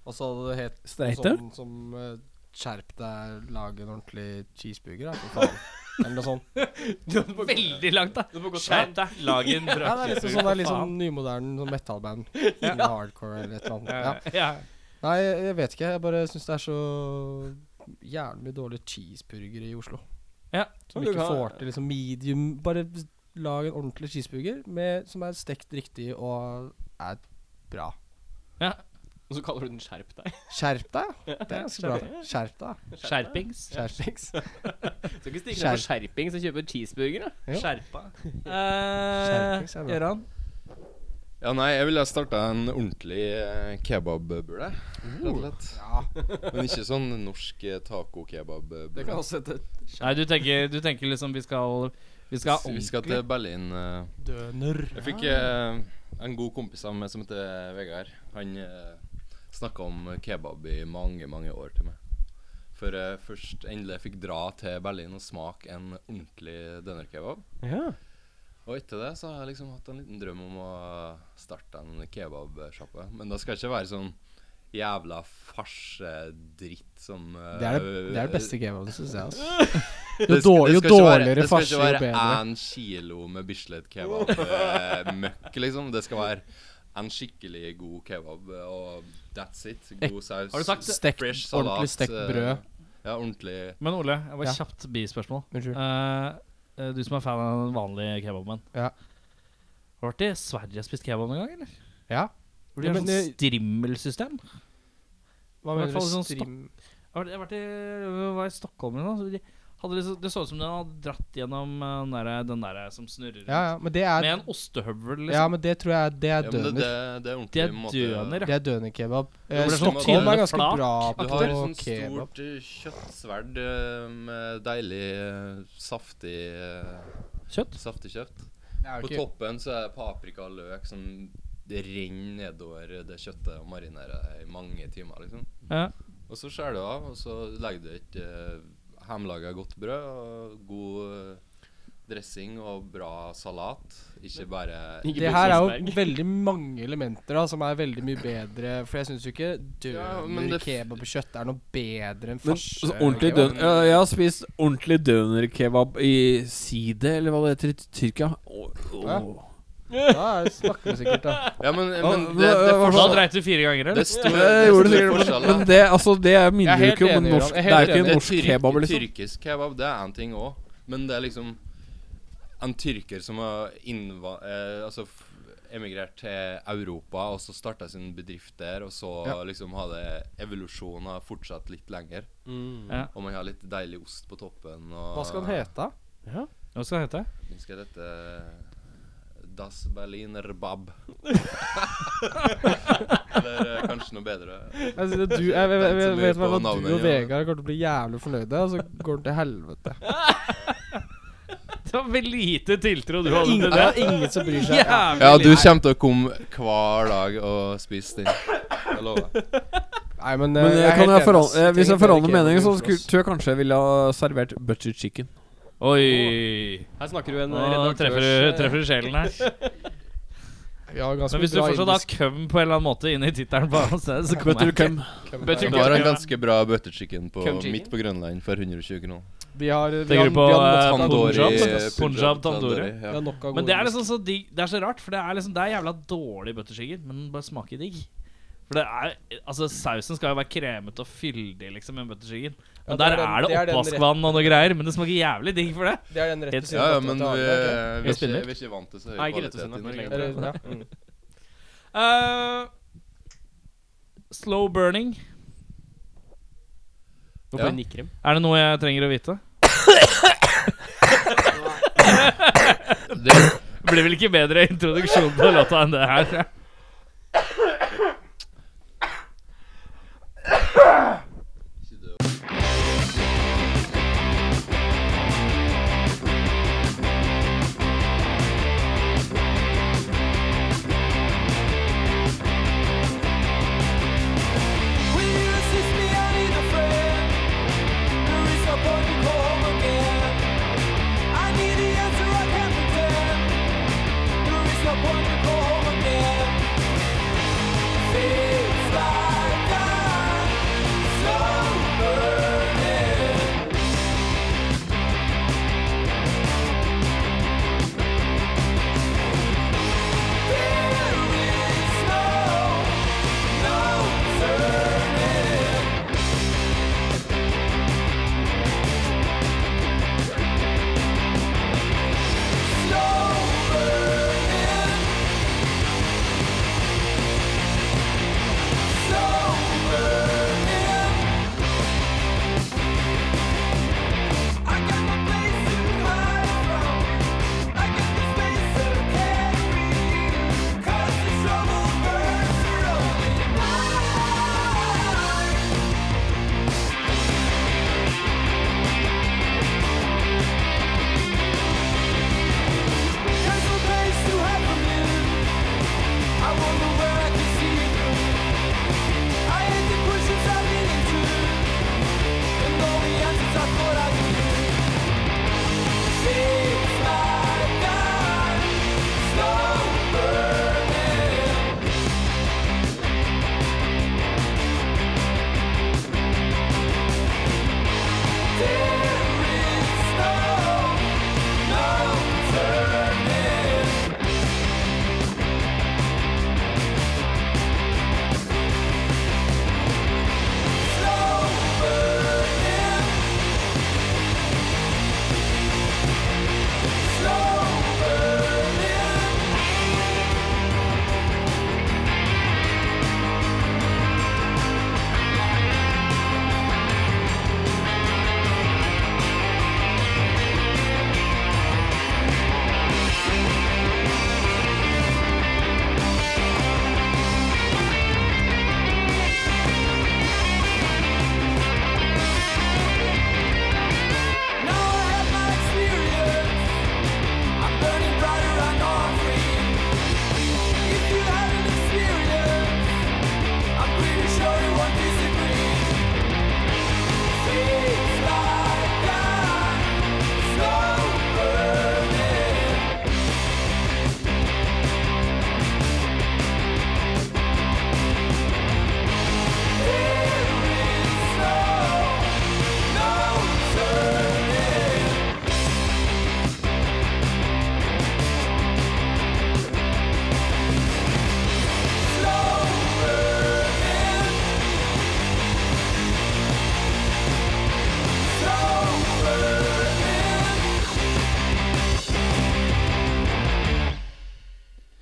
E: Og så hadde det hett
F: Streite?
E: sånn som eh, Skjerp deg, lag en ordentlig cheeseburger, da, for faen. Eller noe sånt.
B: Veldig langt, da. Skjerp deg. Lag en
E: Ja, det er liksom sånn det er liksom
B: faen.
E: nymoderne sånn metal-band. Eller Hardcore eller et eller annet. Ja.
B: Eh, Ja.
E: Nei, jeg, jeg vet ikke. Jeg bare syns det er så jævlig mye dårlige cheeseburgere i Oslo.
B: Ja.
E: Som
G: Men du
E: ikke
G: kan-
E: får til liksom medium Bare s- lag en ordentlig cheeseburger med, som er stekt riktig og er bra.
G: Og så kaller du den Skjerp deg.
E: Skjerp deg! ja. Det er ganske bra. Skjerp deg.
B: Skjerpings.
E: Skjerpings.
G: Skal ikke stikke ned på skjerping og kjøpe cheeseburger, da.
E: Jo.
B: Skjerpa.
E: Skjerpings er bra.
B: Eh, Gøran?
D: ja, nei, jeg ville ha starta en ordentlig eh, kebabbule, rett
E: Oh.
D: og slett.
E: Ja,
D: Men ikke sånn norsk eh, taco-kebab. eh,
E: det kan også hete
B: Nei, du tenker, du tenker liksom vi skal Vi skal ha
D: Vi skal
B: ordentlig
D: til Berlin. eh,
E: døner.
D: Jeg fikk eh, en god kompis av meg som heter Vegard. Han uh, snakka om kebab i mange, mange år til meg. For eh, først endelig fikk dra til Berlin og smake en ordentlig dønerkebab.
G: Ja.
D: Og etter det så har jeg liksom hatt en liten drøm om å starte en kebabsjappe. Men da skal det ikke være sånn jævla farsedritt som eh,
E: Det er det, det er det beste kebaben, syns jeg. Altså.
D: det
E: Jo,
D: skal-
E: dår-
D: det
E: jo
D: skal ikke være-
E: dårligere farse, jo
D: Det skal ikke
E: bedre.
D: være én kilo med Bislett kebab-møkk, liksom. Det skal være en skikkelig god kebab, og that's it.
E: Eh,
D: God saus.
B: Har du sagt det?
E: Stekt-
D: fresh salat,
E: ordentlig stekt
D: eh,
E: brød.
D: Ja, ordentlig
B: Men Ole, jeg bare
E: Ja.
B: kjapt bispørsmål.
E: Unnskyld.
B: Eh, eh, du som er fan av den vanlige kebaben
E: Ja.
B: Har du vært i Sverige og spist kebab noen gang, eller?
E: Ja.
B: Hvor de har
E: Ja, men
B: sånn strimmelsystem?
E: Hva
B: I hvert
E: mener du?
B: fall sånn Jeg
E: Strim...
B: har vært- jeg har vært i, jeg var i Stockholm eller noe. så de Hadde liksom, det så ut som den hadde dratt gjennom eh, den der, den der som snurrer
E: Ja, ja, men det er
B: med en ostehøvel. Liksom.
E: Ja, men det tror jeg Det er
D: Ja, men det,
E: døner.
D: det, det er
B: Det
D: ordentlig
B: er døner,
E: Det er dønerkebab. Eh,
D: det er sånn
E: Stockholm er
B: tynne
E: ganske
B: flak.
E: bra
D: Du
E: på
D: har et sånt
E: kebab.
D: stort eh, kjøttsverd eh, med deilig, eh, saftig eh,
B: Kjøtt?
D: Saftig kjøtt.
E: Det er
D: På
E: jo ikke
D: toppen så er det paprika og løk som det renner nedover det kjøttet og marinerer det i mange timer. liksom.
B: Ja.
D: Og så skjærer du av, og så legger du et eh, hjemmelaga godt brød og god eh, dressing og bra salat. Ikke bare
E: Det her er jo veldig mange elementer da som er veldig mye bedre. For jeg syns jo ikke
D: Ja, men
E: døner,
D: det f-
E: kebab og kjøtt er noe bedre enn
F: Men
E: farse.
F: så ordentlig
E: kebab.
F: døn ja, Jeg har spist ordentlig dønerkebab i Side, eller hva det heter, i Tyrkia. Åh,
E: Ja.
F: åh.
E: Da er- snakker vi sikkert, da.
D: Ja, men,
F: Ja,
D: men det, det,
F: hva-
D: er
B: Da
F: hva-
D: forskjell-
B: dreit du fire ganger,
D: det
B: eller?
D: er stor, det
F: Jeg
D: er
F: gjorde det
D: stor
F: sikkert,
D: forskjell.
F: men-
D: da.
F: men det, altså, det er
E: Jeg er
F: minner jo
E: helt
F: ikke om
E: enig,
F: en
E: Jørgen.
F: norsk
E: Jeg
F: Det er
E: er
F: jo
E: helt
F: ikke en
D: Det er
F: norsk
D: tyrk-
F: kebab, liksom.
D: Tyrkisk kebab, det er en ting òg. Men det er liksom en tyrker som har innva... Eh, altså f- emigrert til Europa og så starta sin bedrift der, og så
E: Ja.
D: liksom har det evolusjonen har fortsatt litt lenger.
B: Ja.
D: Og man har litt deilig ost på toppen og
E: Hva skal den hete?
B: Hva skal den hete?
D: Den skal hete eh, Das Berliner Bab. Eller eh, kanskje noe bedre.
E: Jeg, synes at du, jeg, jeg, jeg, jeg,
D: som
E: vet
D: lurer
E: i hvert
D: på
E: fall at du
D: navnet,
E: og
D: ja.
E: Vegard kommer til å bli jævlig fornøyde, og så går den til helvete.
B: Det var veldig lite tiltro du hadde til
E: Ingen, det
B: det.
E: er ingen som bryr seg.
B: Jævlig
D: Ja, du
B: lite.
D: kommer til å komme hver dag og spise den. Jeg lover.
E: Nei, men,
F: Men
E: eh,
F: jeg kan jeg
E: helt enig, ass.
F: forandre, eh, hvis jeg
E: Trenger
F: forandrer
E: bedre
F: mening, så
E: kebab
F: skulle,
E: enn
F: tror jeg kanskje jeg ville ha servert butter chicken.
B: Oi!
A: Her snakker du en eh,
B: Nå
A: redaktørs...
B: treffer du treffer du sjelen her.
E: oss. Vi har
B: Men
E: ganske
B: Altså, hvis du
E: bra
B: fortsatt har
E: indisk
B: cum på en eller annen måte inn i tittelen, på annet sted, så kommer
F: Butter
B: jeg.
F: cum.
E: kebab.
B: Butter
D: Jeg
B: chicken.
D: har en ganske bra butter chicken på,
A: Cum chicken?
D: midt på Grønland for 120 kroner.
E: Vi har vi
B: Tenker
E: har-
B: du på,
E: vi har
B: eh,
E: nok av
B: tandoori?
E: gode
B: Punjab,
E: indisk, ass.
B: Punjab tandoori.
E: Vi
D: Ja.
E: har nok av
B: Men
E: gode
B: det er
E: indisk.
B: liksom så digg Det er så rart, for det er liksom Det er jævla dårlig butterchicken, men den bare smaker digg. For det er Altså, sausen skal jo være kremete og fyldig, liksom, med butterchicken. Men
E: Ja, det
B: der
E: er
B: er
E: den- det er
B: det
E: den
B: oppvaskvann og noe greier, men det smaker jævlig digg for det.
E: Det er den rett ved
B: Ja,
E: siden
D: Ja,
E: av
D: ja, men eh, vi,
E: Tatjana,
D: vi,
E: ikke?
D: er
B: Jeg
D: ikke,
B: spiller.
D: vi er ikke vant til så høy
A: Nei, ikke
D: kvalitet i
A: rettesiden,
D: Norge.
A: ikke
E: Eller, Mm. ja.
B: Eh, slow burning.
A: Nå får jeg nikkrem.
B: Er det noe jeg trenger å vite?
D: Det,
B: Blir vel ikke bedre introduksjon på låta enn det her.
H: I need the answer, I can't pretend. There is no point to go home again.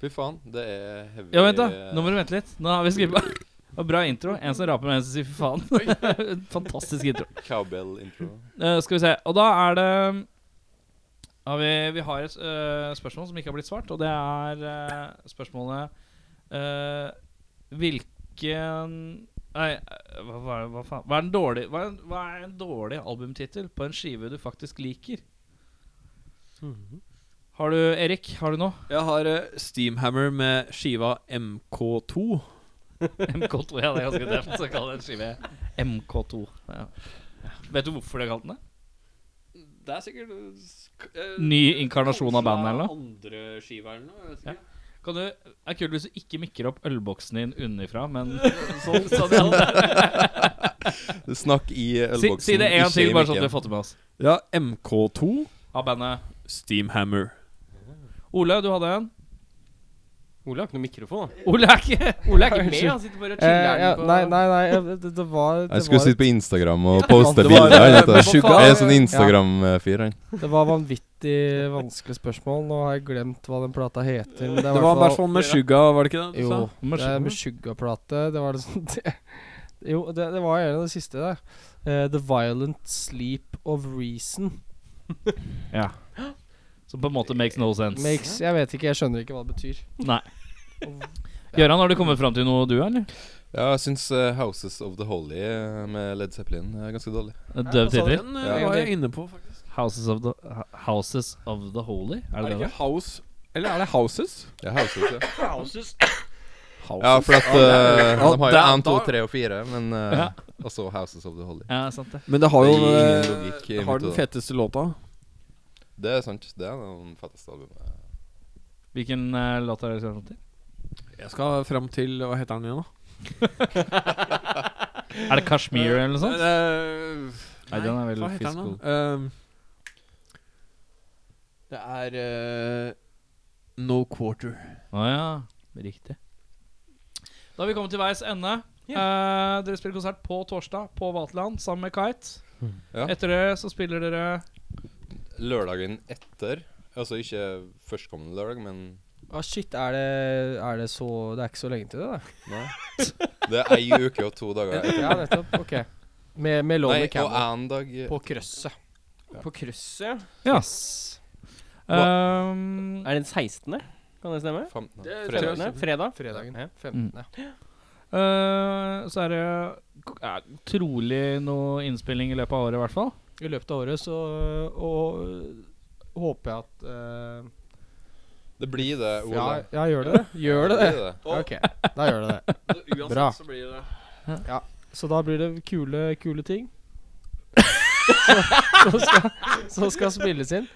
D: Fy faen, det er heavy
B: Ja, vent, da. Nå må du vente litt. Nå har vi skrevet Det var Bra intro. En som raper, og en som sier fy faen. Fantastisk intro.
D: Cowbell-intro.
B: Eh, skal vi se. Og da er det ja, vi, vi har et eh, spørsmål som ikke har blitt svart, og det er eh, spørsmålet eh, Hvilken Nei, eh, hva, hva, er det- hva faen Hva er en dårlig, hva er en, hva er en dårlig albumtittel på en skive du faktisk liker? Har du Erik, har du noe?
F: Jeg har eh, Steamhammer med skiva MK2.
B: MK2, ja, det er ganske tøft å kalle det en skive MK2. Ja. Vet du hvorfor de har kalt den det?
H: Det er sikkert øh, sk- øh,
B: Ny inkarnasjon av bandet, eller noe?
H: Andre skiva eller noe. Jeg vet
B: Ja.
H: ikke.
B: Kan du, det er kult hvis du ikke mikker opp ølboksen din unnifra, men
H: Sånn, sånn, ja.
D: Snakk i
B: si,
D: ølboksen.
B: si det en gang
D: ikke i
B: til, bare sånn at vi
D: mikken.
B: har fått det med oss.
F: Ja, MK2.
B: Av bandet
F: Steamhammer.
B: Ole, du hadde en.
G: Ole har ikke noe mikrofon, da.
B: Ole er ikke
G: Ole er ikke med, han sitter bare og chiller'n
E: Eh, ja,
G: på
E: nei, nei, nei, jeg- det, det var det
D: Jeg skulle
E: var,
D: sitte på Instagram og poste
E: det var-
D: bilder. Han
E: det var
D: vet du.
E: sugar.
D: Jeg er sånn Instagram-fyr, han.
E: Det var vanvittig vanskelig spørsmål. Nå har jeg glemt hva den plata heter. Men det,
F: Det var i hvert fall med Suga, var det ikke det? du
E: Jo,
F: sa?
E: det er med Sugar-plate. Det var liksom det. Jo, det, det var gjerne det siste der. Eh, The Violent Sleep of Reason.
B: Som på en måte makes no sense.
E: Makes, jeg vet ikke, jeg skjønner ikke hva det betyr.
B: Nei. Gøran, har du kommet fram til noe, du, eller?
D: Ja, jeg syns eh, Houses of the Holy eh, med Led Zeppelin er ganske dårlig.
B: En Døv tittel?
F: Den eh, var jeg inne på, faktisk.
B: Houses of the Houses of the Holy? Er
F: Er
B: det
F: det
B: det?
F: ikke House Eller er det Houses?
D: Ja, Houses, ja.
H: Houses.
D: ja for at eh, de har jo
F: da-
D: 1, 2,
F: da-
D: 3 og 4, men eh,
B: Ja.
D: også Houses of the Holy.
B: Ja, sant det.
F: Men det har
D: Det
F: jo
D: gir ingen
F: eh,
D: logikk i
F: det har
D: mitt
F: den
D: hode.
F: feteste låta.
D: Det er sant. Det er noen fetteste albumene.
B: Hvilken uh, låt er det du skal fram til?
F: Jeg skal fram til Hva heter den igjen, da?
B: Er det Kashmir eller noe sånt?
F: Eh,
B: Nei, den er vel
F: hva heter den,
B: fiscal.
F: da? Ehm, det er eh, No Quarter.
B: Å ja. Riktig. Da har vi kommet til veis ende. Eh, dere spiller konsert på torsdag på Vaterland sammen med Kite.
D: Ja.
B: Etter det så spiller dere
D: Lørdagen etter Altså ikke førstkommende lørdag, men
E: Ah, shit, er det, er det så Det er ikke så lenge til det, da?
D: Nei. Det er ei uke og to dager etter.
E: Ja, nettopp. Ok. Med, med
D: Nei,
E: Lonely
D: og
E: Camel
D: én dag
E: på krøsset.
G: På krysset.
B: Ja. Eh,
G: Er det den 16.? Kan det stemme?
D: 15.
G: Fredag.
D: Fredag.
G: Fredag.
E: Fredagen
G: Ja.
E: 15.
B: så er det eh, trolig noe innspilling i løpet av året, i hvert fall.
E: I løpet av året så og, håper jeg at eh,
D: Det blir det,
E: ja,
D: Ole.
E: ja, gjør det det? Gjør det det?
D: blir det.
E: Ok, da gjør det det.
H: Uansett
E: Bra.
H: så blir det
E: Så da blir det kule, kule ting. Som skal, som skal spilles inn.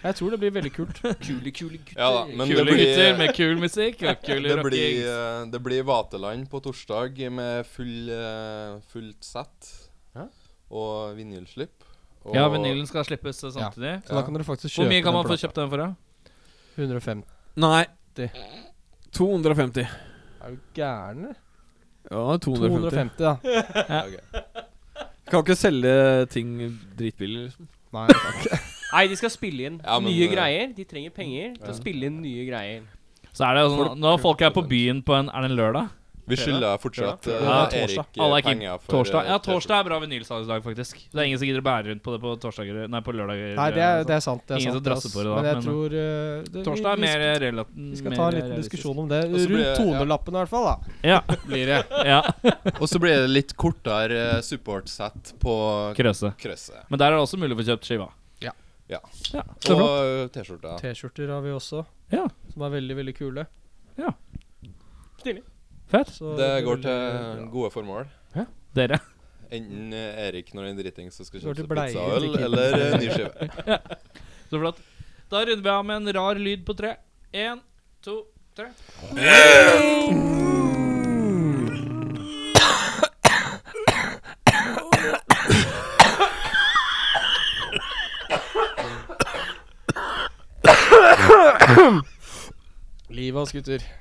E: Jeg tror det blir veldig kult.
G: Kule, kule gutter.
D: Ja da, men
B: Kule
D: det blir,
B: gutter med kul musikk og kule
D: det, blir,
B: rocking.
D: eh, det blir Vaterland på torsdag med full, eh, fullt sett
G: Ja.
D: og vinylslipp. Og
B: Ja, vinylen skal slippes eh, samtidig.
E: Så da kan dere faktisk kjøpe
B: Hvor mye kan man få
E: den plata.
B: kjøpt den for, da?
E: 105.
F: Nei
E: Det.
F: 250.
E: Er du gæren? eller?
F: Ja, 250.
E: 250, da.
F: Kan ikke selge ting dritbillig, liksom.
E: Nei,
G: Nei, de skal spille inn
D: Ja, men,
G: nye
D: eh,
G: greier. De trenger penger til å spille inn nye greier.
B: Så er det jo sånn Når folk er på byen på en Er det en lørdag?
D: Vi skylder fortsatt eh,
B: Ja, torsdag.
D: Erik eh,
B: Alle er keen.
D: penger for
B: Torsdag.
D: eh,
B: Ja, torsdag er bra vinylsalgsdag, faktisk. Det er ingen som gidder å bære rundt på det på torsdager Nei, på lørdager.
E: Nei det, er, det er sant. Det er
B: Ingen som
E: sant
B: drasser
E: ass.
B: på det da,
E: Men jeg
B: men-
E: tror eh, det, vi-
B: Torsdag er
E: vi
B: mer
E: skal-
B: relativt
E: Vi skal ta en liten diskusjon om det.
D: Og så blir
E: Rundt
D: det-
E: tonelappen, i hvert fall. da
B: Ja, blir det. Ja,
D: Og så blir det litt kortere eh, support-sett på
B: Krøse.
D: krøsset.
B: Men der er det også mulig å få kjøpt skiva.
E: Ja.
D: Ja.
B: ja. Så
D: Og
B: flott.
D: eh, T-skjorta.
E: T-skjorter har vi også,
B: Ja.
E: som er veldig, veldig kule.
B: Fett.
E: Så
D: Det
E: blir
D: går til
E: veldig bra.
D: gode formål.
B: Dere.
D: Enten eh, Erik når han er driting, så skal
E: Går til
D: kjøpe seg
E: bleier
D: pizza
E: til
D: og øl,
E: kidden.
D: eller eh, ny skive.
B: Så flott. Da runder vi av med en rar lyd på tre. Én, to, tre.
E: Livet hans, gutter.